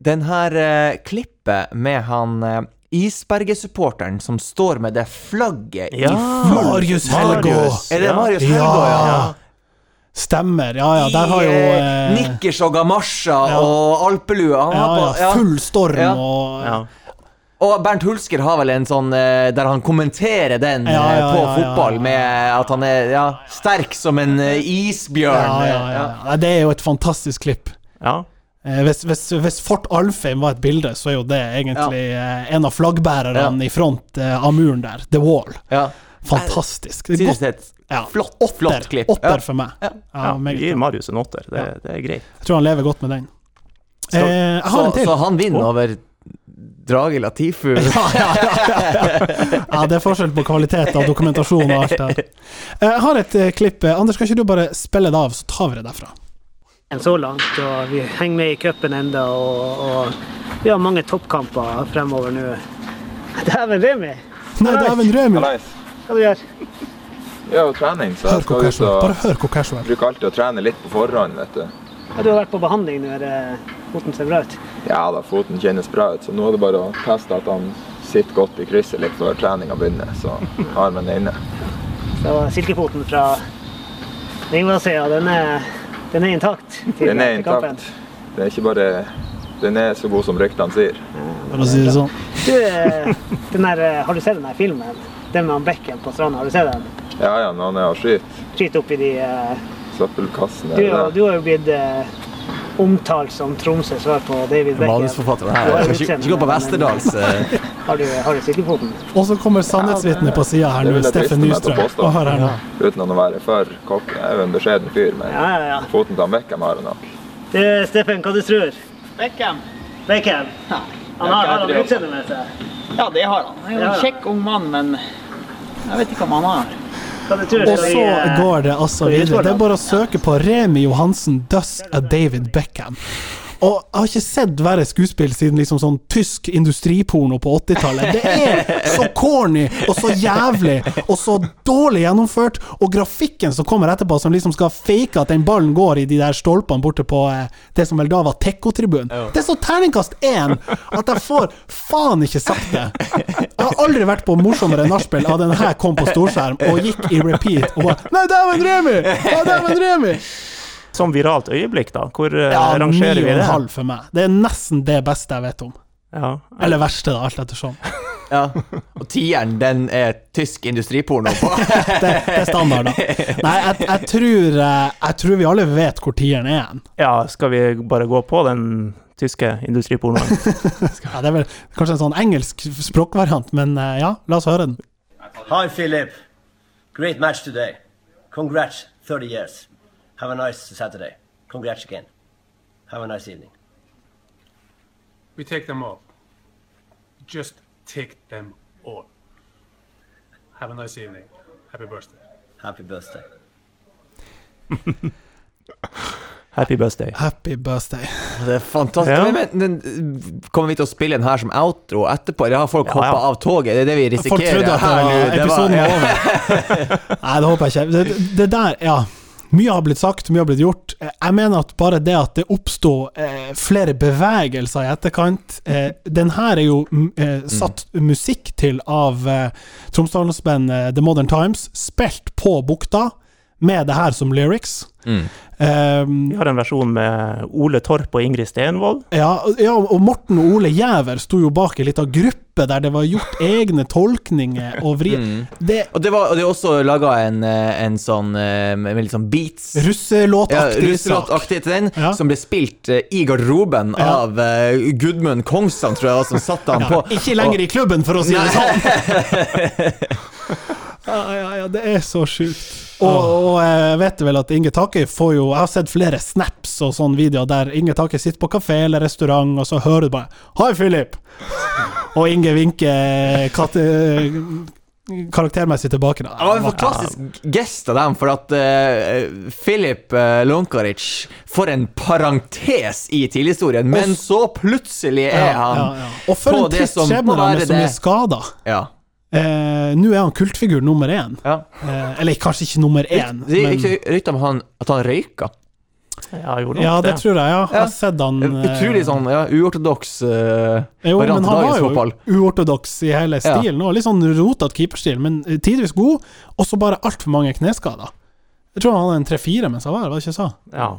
C: den her eh, klippet med han eh, Isberget-supporteren som står med det flagget
A: Ja.
C: i full
B: Marius Helgå.
A: Marius,
C: Er det
A: ja.
C: Marius
B: Ja.
C: Helgå, ja?
B: Stemmer. Ja, ja, der har jo
C: I eh,
B: eh,
C: nikkers og gamasjer
B: ja.
C: og alpelue. Han
B: ja,
C: har på,
B: ja,
C: ja.
B: Full storm
C: Ja.
B: og
A: Ja.
C: Og Bernt Hulsker har vel en sånn eh, der han kommenterer den
B: Ja,
C: eh,
B: ja,
C: på
B: ja, ja,
C: fotball
B: ja.
C: med at han er ja, sterk som en eh, isbjørn.
B: ja, ja, ja.
C: Ja.
B: Nei, Det er jo et fantastisk klipp.
A: ja.
B: Eh, Hvis, hvis, hvis Fort Alfheim var et bilde, så er jo det egentlig eh, en av flaggbærerne
C: Ja.
B: i front eh, av muren der. The Wall.
C: Ja.
B: Fantastisk. Det er
C: Eh, Synes
B: godt.
C: det er et
B: Ja.
C: flott,
B: Åtter,
C: flott klipp. Ja.
B: åtter for meg.
C: Ja.
B: Ja,
A: Vi
B: meget
A: gir
B: bra.
A: Marius en åtter. Det, det er greit.
B: Jeg tror han lever godt med den. Eh, jeg har
C: Så,
B: en til.
C: så han vinner over Drage Latifu.
B: Ja, det er forskjell på kvalitet av dokumentasjon og alt det der. Jeg har et eh, klipp. Eh, Anders, kan ikke du bare spille det av, så tar vi det derfra?
G: Så langt, og vi henger med i cupen ennå. Og, og vi har mange toppkamper fremover nå. Dæven, Remi!
B: Nei, dæven rømi!
G: Hva du gjør
J: Ja, og trening, så jeg
B: Hør hvor
J: skal ut
B: casual.
J: og
B: Bare hør hvor casual.
J: bruker alltid å trene litt på forhånd, vet du.
G: Ja, Du har vært på behandling nå. Er det foten ser bra ut?
J: Ja da, foten kjennes bra ut, så nå er det bare å teste at han sitter godt i krysset litt før treninga begynner, så armen er inne.
G: Så silkefoten fra Ringvassøya, den, er- den er intakt? til-
J: Den er
G: til kampen.
J: intakt. Det er ikke bare Den er så god som ryktene sier.
B: For å si det sånn.
G: Du, eh, den her, eh, har du sett den her filmen? Den med han Bekken på stranda, har du sett den?
J: Ja ja, når han er og skyter
G: Skyt opp i de eh,
J: søppelkassen
G: Du,
J: eller
G: du har jo blitt eh, omtalt som Tromsøs svar på David Becken.
C: Manusforfatteren her. Jeg skal ikke- ikke gå på Westerdals. eh.
G: Har du, har du silkefoten?
B: Og så kommer sannhetsvitnet på sida her
J: Det
B: nå,
J: vil jeg driste
B: Steffen
J: meg til å
B: Nystrøm.
J: påstå.
B: Og hør her nå.
J: Uten å være for cocky. Jeg er jo en beskjeden fyr, men
G: Ja, ja, ja.
J: foten til han Beckham har han nok.
G: Du, Steffen, hva du tror? Beckham. Beckham? Han har, har han utseendet med seg?
I: Ja, det har han. Han er jo
G: Ja.
I: en kjekk ung mann, men jeg vet ikke om han har.
G: Hva du tror?
B: Og
G: Skal vi,
B: så
G: eh,
B: går det altså
G: vi
B: videre.
G: utfordre
B: Det
G: han?
B: er bare å søke på Remi Johansen does a David Beckham. Og jeg har ikke sett verre skuespill siden liksom sånn tysk industriporno på 80-tallet. Det er så corny og så jævlig og så dårlig gjennomført, og grafikken som kommer etterpå, som liksom skal fake at den ballen går i de der stolpene borte på eh, det som vel da var Tekko-tribunen. Det er så terningkast én at jeg får faen ikke sagt det. Jeg har aldri vært på morsommere nachspiel av den her kom på storskjerm og gikk i repeat og bare Nei, dæven Remi! Ja, dæven Remi!
A: Som viralt øyeblikk, da. Hvor eh,
B: Ja, ni
A: rangerer
B: og
A: vi
B: en
A: det?
B: halv for meg. Det er nesten det beste jeg vet om.
A: Ja.
B: Eller verste, da, alt ettersom.
C: Ja. Og tieren, den er tysk industriporno på.
B: Det, det er standard, da. Nei, jeg, jeg, tror, eh, jeg tror vi alle vet hvor tieren er hen.
A: Ja, skal vi bare gå på den tyske industripornoen?
B: Ja, det er vel kanskje en sånn engelsk språkvariant, men eh, ja, la oss høre den.
K: Hi, Philip. Great match today. Congrats, 30 years. Have a nice Saturday. Congrats again. Have a nice evening.
L: We take them all. Just take them all. Have a nice evening. Happy birthday.
K: Happy birthday.
A: Happy birthday.
B: Happy birthday.
C: Det er fantastisk.
A: Ja.
C: Men, men, kommer vi til å spille den her som outro etterpå? Eller har folk
A: Ja,
C: hoppa
A: ja.
C: av toget? Det er det vi
B: Folk
C: risikerer
B: trodde at det
C: her nå.
B: var,
C: Det var-
B: episoden
C: ja.
B: var over. Nei, det håper jeg ikke. Det, det der, ja. Mye har blitt sagt, mye har blitt gjort. Eh, Jeg mener at bare det at det oppsto eh, flere bevegelser i etterkant eh, Den her er jo mm, eh, satt musikk til av eh, Tromsdalsbandet eh, The Modern Times, spilt på bukta, med det her som lyrics. Um,
A: Vi har en versjon med Ole Torp og Ingrid Stenvold.
B: Ja, og- ja, og Morten og Ole Jæver sto jo bak ei lita gruppe der det var gjort egne tolkninger og vri...
C: Mm.
B: Det
C: Og det, var, og det er også laga en, eh, en sånn eh, med med litt sånn beats. Ja,
B: Russelåtaktig sak.
C: Russelåtaktig til den,
B: Ja.
C: som ble spilt eh, i garderoben
B: Ja.
C: av eh, Gudmund Kongsson, tror jeg, det var, som satte han
B: Ja,
C: på.
B: ikke lenger i klubben, for å si det sånn! Ja, ja, ja, det er så sjukt. Og, og eh, jeg vet vel at Inge Takøy får jo Jeg har sett flere snaps og sånne videoer der Inge Takøy sitter på kafé eller restaurant, og så hører du bare 'Hei, Philip!' Og Inge vinker katte- eh, karaktermessig tilbake.
C: Det var en fantastisk gest av dem, for at eh, Filip eh, Lunkaric For en parentes i tidlighistorien, men så plutselig er han
B: ja, ja. Og for
C: på
B: en
C: det
B: trist
C: som må
B: skjebne han
C: være
B: er som
C: det.
B: er skada.
C: Ja.
B: Eh, Nå er han kultfigur nummer én.
C: Ja.
B: Eh, eller kanskje ikke nummer én,
C: Det
B: men
C: gikk rykter om han, at han røyka.
A: Ja, jo, nok
B: ja, det tror jeg. Ja. Jeg
C: Ja.
B: har sett han eh,
C: Utrolig sånn ja, uortodoks uh,
B: Jo, men han
C: variant av
B: var
C: dagens
B: jo
C: fotball.
B: uortodoks i hele
C: Ja.
B: stilen. Og litt sånn rotete keeperstil, men eh, tidvis god, og så bare altfor mange kneskader. Jeg tror han hadde en tre-fire mens han var her, var det ikke jeg sa?
A: Ja.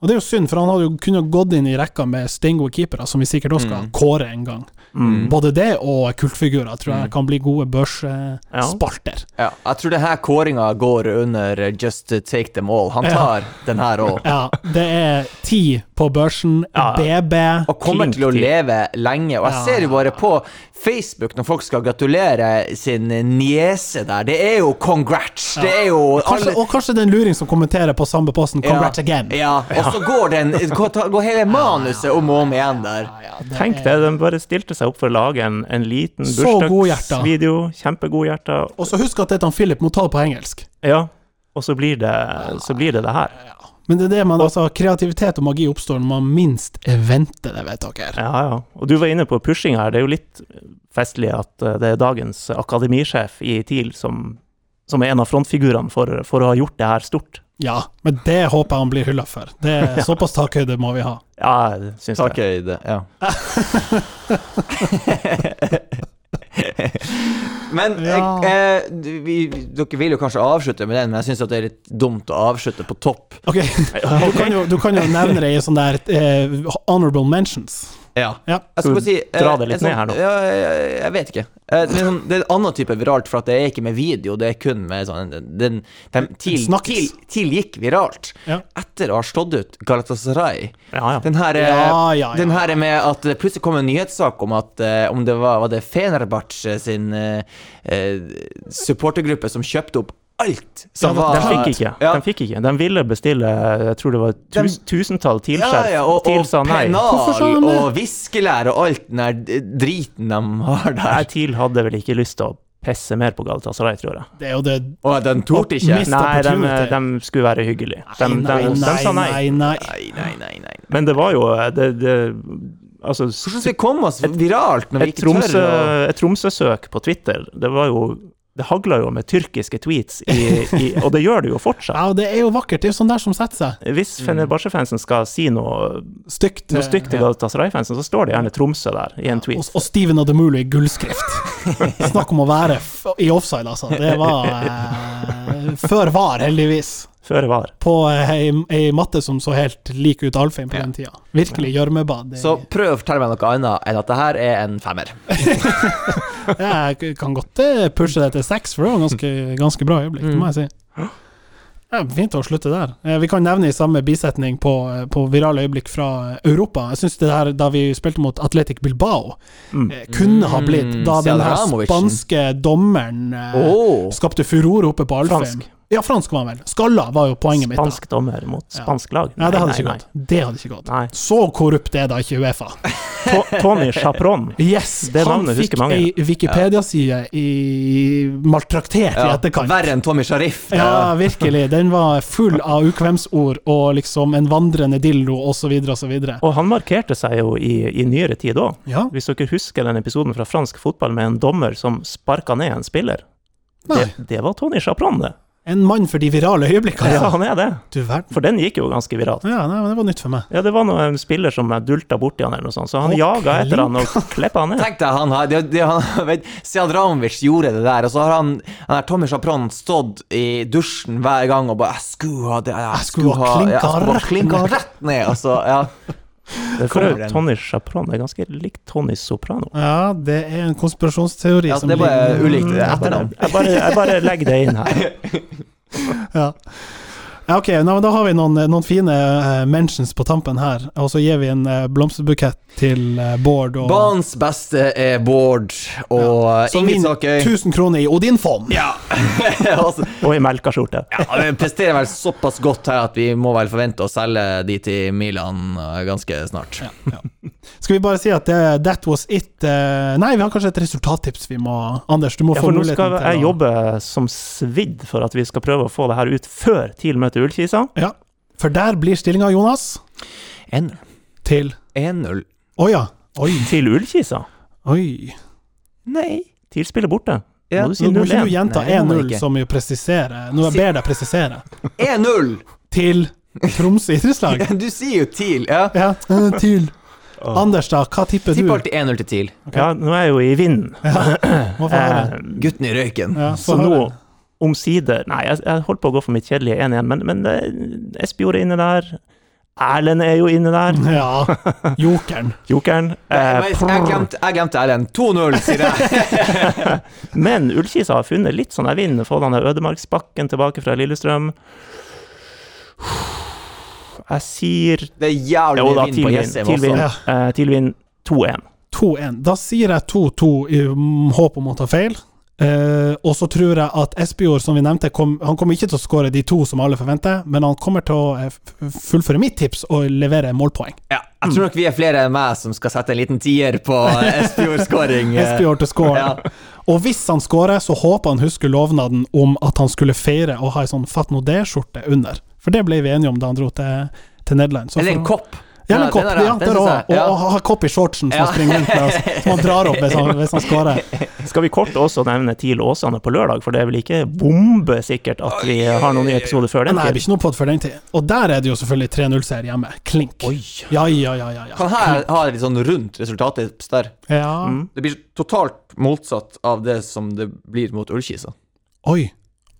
B: Og det er jo synd, for han hadde jo kunnet gått inn i rekka med steingode keepere, som vi sikkert også skal kåre en gang.
A: Mm.
B: Både det og kultfigurer tror jeg kan bli gode børsspalter.
C: Mm. Ja, jeg tror denne kåringa går under eh, Just Take Them All. Han tar den her òg.
B: Ja, det er ti på børsen,
C: Ja.
B: BB
C: Og kommer til å leve lenge. Og jeg
B: Ja.
C: ser jo bare på Facebook når folk skal gratulere sin niese der. Det er jo congrats! Det er jo
B: Kanskje,
C: alle
B: og kanskje det er en luring som kommenterer på samme posten 'Congrats again'.
C: Ja, og så går, den, går hele manuset om og om igjen der.
A: Tenk det, de bare stilte seg opp for å lage en, en liten
B: Så godhjerta.
A: bursdagsvideo. Kjempegodhjerta.
B: Og så husk at dette han Philip må ta på engelsk.
A: Ja, og så blir det så blir det, det her.
B: Men det er det man altså Kreativitet og magi oppstår når man minst venter det, vet dere.
A: Ja, ja. Og du var inne på pushing her. Det er jo litt festlig at eh, det er dagens akademisjef i TIL som, som er en av frontfigurene for, for å ha gjort det her stort.
B: Ja, men det håper jeg han blir hylla for. Det er Såpass takhøyde må vi ha.
A: Ja, jeg syns det.
C: Takhøyde, ja. Men
B: Ja.
C: eh, eh, du- vi, dere vil jo kanskje avslutte med den, men jeg syns det er litt dumt å avslutte på topp.
B: Ok, du kan jo, du kan jo nevne det i sånne der eh, honorable mentions.
C: Ja.
B: Ja.
C: Jeg skal bare si eh,
A: Dra det litt
C: en sånn,
A: ned her nå.
C: Ja, jeg, jeg vet ikke. Eh, Det er, sånn, det er en annen type viralt, for at det er ikke med video, det er kun med sånn den, den, den TIL, TIL,
B: snakkes.
C: TIL gikk viralt
B: Ja.
C: etter å ha slått ut Galatasaray.
A: Ja, ja.
C: Den her, eh,
B: Ja, ja, ja.
C: Den her er med at det plutselig kom en nyhetssak om at eh, om det var, var det Fenerbahçe sin eh, eh, supportergruppe som kjøpte opp alt som var
A: De fikk ikke.
C: Ja.
A: De fikk ikke. De ville bestille, jeg tror det var tus, tusentall
C: Ja,
A: TIL-skjerf.
C: ja, og,
A: TIL
C: og
A: sa nei.
B: Hvorfor sa
C: pennal
B: han det?
C: og viskelær og alt den der driten de har der.
A: Nei, TIL hadde vel ikke lyst til å pisse mer på Galatasaray, tror jeg.
B: Det er jo det
C: Og den torde ikke?
B: Mist
A: Nei, de,
B: opportunity.
A: de skulle være hyggelige. De, de, de, sa nei.
B: nei, nei.
C: Nei, nei, nei, nei.
A: Men det var jo eh, det, det, Altså,
C: Hvordan skal vi komme oss viralt når vi
A: et
C: ikke tør å
A: Tromsø- et Tromsø-søk på Twitter, det var jo Det hagla jo med tyrkiske tweets, i, i, og det gjør det jo fortsatt.
B: Ja, det er jo vakkert. Det er jo sånn der som setter seg.
A: Hvis Fenerbahçe-fansen skal si noe,
B: Stygt.
A: noe stygt til Galatasaray-fansen, så står det gjerne Tromsø der i en
B: Og,
A: tweet.
B: og Steven og The Mooley i gullskrift. Snakk om å være f i offside, altså. Det var eh, før var, heldigvis.
A: Føre var.
B: På eh, ei, ei matte som så helt lik ut Alfheim på den tida. Virkelig gjørmebad. i-
C: Så prøv å fortelle meg noe annet enn at det her er en femmer.
B: Jeg kan godt eh, pushe det til seks, for det var ganske, ganske bra øyeblikk, det må jeg si. Ja, fint å slutte der. Eh, Vi kan nevne i samme bisetning på, eh, på virale øyeblikk fra eh, Europa. Jeg syns det her da vi spilte mot Atletic Bilbao, eh, kunne ha blitt da
C: Mm,
B: den her
C: Selhamovic.
B: spanske dommeren eh,
C: Åh.
B: skapte furore oppe på Alfheim.
A: Fransk.
B: Ja, fransk var han vel. Skalla var jo poenget mitt. da.
A: Spansk dommer mot spansk lag?
B: Nei, det hadde ikke gått. Det hadde ikke gått. Så korrupt er da ikke Uefa.
A: To- Tony Chaperon.
B: Yes,
A: Det
B: han
A: navnet
B: fikk
A: husker mange.
B: ei Wikipedia-side i maltraktert i
C: Ja,
B: etterkant.
C: Verre enn Tommy Sharif.
B: Ja, virkelig. Den var full av ukvemsord og liksom en vandrende dildo osv. osv.
A: Og han markerte seg jo i, i nyere tid òg.
B: Ja.
A: Hvis dere husker den episoden fra fransk fotball med en dommer som sparka ned en spiller. Det, det var Tony Chaperon, det.
B: En mann for de virale øyeblikkene.
A: Ja, han er det.
B: Du verden.
A: For den gikk jo ganske viralt.
B: Ja, nei, men det var nytt for meg.
A: Ja, det var noe, en spiller som dulta borti han eller noe sånt, så han
C: Og
A: jaga etter han og kleppa han ned.
C: Tenk deg, han har det, det, han, vet, Sead Ramovic gjorde det der, og så har han, han her Tommy Chapron stått i dusjen hver gang og bare 'Jeg skulle ha det, jeg skulle ha
B: klinka
C: jeg skulle bare
B: rett
C: klinka
B: ned.»
C: rett ned', og så ja.
A: Det er for
C: Kommer
A: øvrig
C: den.
A: Tony Chaperon det er ganske likt Tony Soprano.
B: Ja, det er en konspirasjonsteori
C: Ja,
B: som
C: det er bare
A: eh,
B: ligger-
C: ulikt
A: Mm, Jeg bare,
C: etternavn.
A: jeg, bare, jeg bare legger det inn her.
B: ja. ja, ok. Nå, men da har vi noen, noen fine eh, mentions på tampen her, og så gir vi en eh, blomsterbukett til eh, Bård og
C: Banens beste er Bård og ja.
B: som
C: Ingrid
B: vinner
C: Sakøy.
B: 1000 kroner i Odin-fond.
C: Ja. altså,
A: Og i melkaskjorte.
C: ja, vi presterer vel såpass godt her at vi må vel forvente å selge de til Milan eh, ganske snart.
B: Skal vi bare si at det, that was it eh, Nei, vi har kanskje et resultattips vi må Anders, du må
A: Ja,
B: få
A: for nå
B: muligheten
A: skal
B: til
A: jeg
B: å-
A: jobbe som svidd for at vi skal prøve å få det her ut før TIL møter Ullkisa.
B: Ja, for der blir stillinga, Jonas
C: 1-0.
B: Til
C: 1-0.
B: Å ja. Oi.
A: Til Ullkisa.
B: Oi.
C: Nei.
A: TIL spiller borte.
C: Ja.
A: Må du si
B: Nå må ikke
A: 0-1.
B: du gjenta
C: Nei, det må jeg
B: 1-0,
C: ikke.
B: som jo presiserer Nå jeg
C: Si-
B: ber deg presisere.
C: 1-0!
B: Til Tromsø idrettslag.
C: Du sier jo TIL. Ja.
B: Ja, eh, til Anders, da. Hva tipper du?
C: Tipper alltid 1-0 til TIL.
A: Ja, nå er jeg jo i vinden.
B: Må få høre.
A: Eh,
C: Gutten i røyken.
B: Ja, få
A: Så nå,
B: høre.
A: omsider Nei, jeg, jeg holdt på å gå for mitt kjedelige 1-1, men, men eh, Espejord er inne der. Erlend er jo inne der.
B: Ja. Jokeren.
A: Jokeren.
C: Jeg
A: Eh,
C: vet- jeg glemte- jeg glemte Erlend. 2-0, sier jeg.
A: men Ullkisa har funnet litt sånn der vind. Fått han der Ødemarksbakken tilbake fra Lillestrøm. Jeg sier
C: Det er jævlig
A: Jo da,
C: mye vind på
A: TIL vinner.
C: Jessheim
A: TIL
C: også.
A: vinner. Eh, TIL vinner 2-1.
B: 2-1. Da sier jeg 2-2 i mm, håp om å ta feil. Eh, og så tror jeg at Espejord, som vi nevnte, kom, han kommer ikke til å skåre de to som alle forventer, men han kommer til å eh, f- fullføre mitt tips og levere målpoeng.
C: Ja, jeg tror nok vi er flere enn meg som skal sette en liten tier på eh, Espejord-skåring. eh,
B: Espejord til score.
C: Ja.
B: Og hvis han skårer, så håper han husker lovnaden om at han skulle feire og ha ei sånn Fatno D-skjorte under. For det ble vi enige om da han dro til, til Nederland. Så
C: Eller
B: får
C: en
B: han-
C: kopp.
B: Ja, eller en
C: den
B: kopp.
C: har jeg.
B: Ja,
C: Den
B: der
C: synes
B: også.
C: jeg.
B: Og,
C: Ja.
B: og ha kopp i shortsen som
C: Ja.
B: han springer rundt med, og som han drar opp hvis han, hvis han skårer.
A: Skal vi kort også nevne TIL Åsane på lørdag, for det er vel ikke bombesikkert at vi har noen nye episoder før den
B: Nei, det blir
A: tid?
B: ikke noe podd før den tid. Og der er det jo selvfølgelig 3-0-seier hjemme. Klink. Ja, ja, ja, ja, ja.
C: Kan her ha litt sånn rundt resultattips der.
B: ja.
C: Det blir totalt motsatt av det som det blir mot Ullkisa.
B: Oi.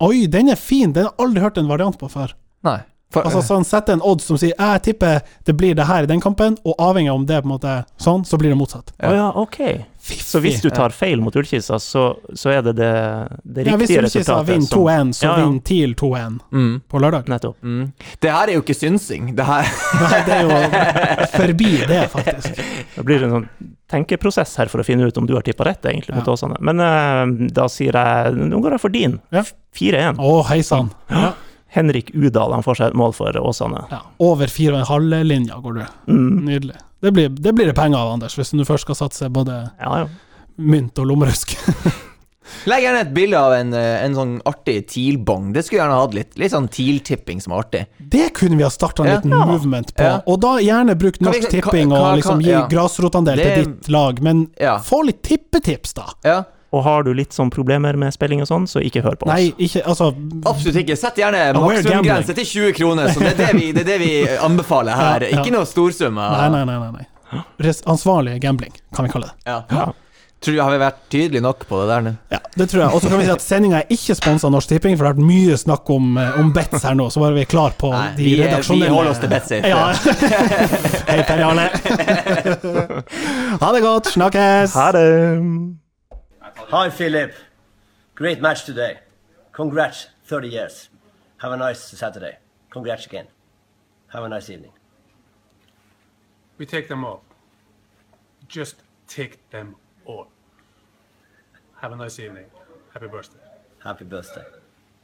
B: Oi, den er fin! Den har jeg aldri hørt en variant på før.
C: Nei. For,
B: Altså, så han setter en odds som sier 'jeg tipper det blir det her i den kampen', og avhengig av om det er på en måte sånn, så blir det motsatt.
A: Å ja, ok. Så hvis du tar feil mot Ullkisa, så, så er det det, det
B: Ja, hvis
A: riktige
B: Ullkisa
A: resultatet?
B: vinner
A: som-
B: 2-1, så
A: Ja, ja,
B: vinner TIL 2-1
C: Mm.
B: på lørdag.
A: Nettopp.
C: Det her er jo ikke synsing. Det her
B: Nei, det er jo forbi det, faktisk.
A: Da blir det en sånn tenkeprosess her for å finne ut om du har tippa rett, egentlig, mot Åsane. Men eh, da sier jeg Nå går jeg for din.
B: Ja.
A: 4-1.
B: Å, hei sann. Ja.
A: Henrik Udal han får seg et mål for Åsane.
B: Ja. Over 4,5-linja går du.
A: Mm.
B: Nydelig. Det blir, det blir det penger av, Anders, hvis du først skal satse både
A: Ja, ja.
B: mynt og lommerusk.
C: Legg gjerne et bilde av en, eh, en sånn artig TIL-bong. Det skulle jeg gjerne hatt litt. Litt sånn TIL-tipping som er artig.
B: Det kunne vi ha starta en
C: Ja.
B: liten
C: Ja.
B: movement på.
C: Ja.
B: Og da gjerne bruk
C: Kan vi-
B: Norsk
C: kan-
B: Tipping
C: kan-
B: og
C: kan-
B: liksom gi
C: ja.
B: grasrotandel til
C: Det-
B: ditt lag, men
C: Ja.
B: få litt tippetips, da.
C: Ja.
A: Og har du litt sånn problemer med spilling og sånn, så ikke hør på oss.
B: Nei, ikke Altså,
C: Absolutt ikke. Sett gjerne
B: we're
C: maksimumgrense
B: gambling.
C: til 20 kroner. Så det er det vi, det er det vi anbefaler her.
B: Ja, ja.
C: Ikke noe storsummer.
B: nei, nei, nei. nei, nei. Res ansvarlig gambling, kan vi kalle det.
C: Ja. Tror du har vi vært tydelige nok på det der nå?
B: Ja, det tror jeg. Og så kan vi si at sendinga er ikke sponsa Norsk Tipping, for det har vært mye snakk om, eh, om bets her nå, så bare vi er klar på
C: Nei,
B: de
C: vi, er- vi
B: redaksjonelle
C: holder oss til BetSafe.
B: Ja. Hei, Per Jarle. ha det godt. Snakkes.
A: Ha det!
C: Hi, Philip. Great match today. Congrats, 30 years. Have a nice Saturday. Congrats again. Have a nice evening.
I: We take them all. Just take them all. Have a nice evening. Happy birthday.
C: Happy birthday.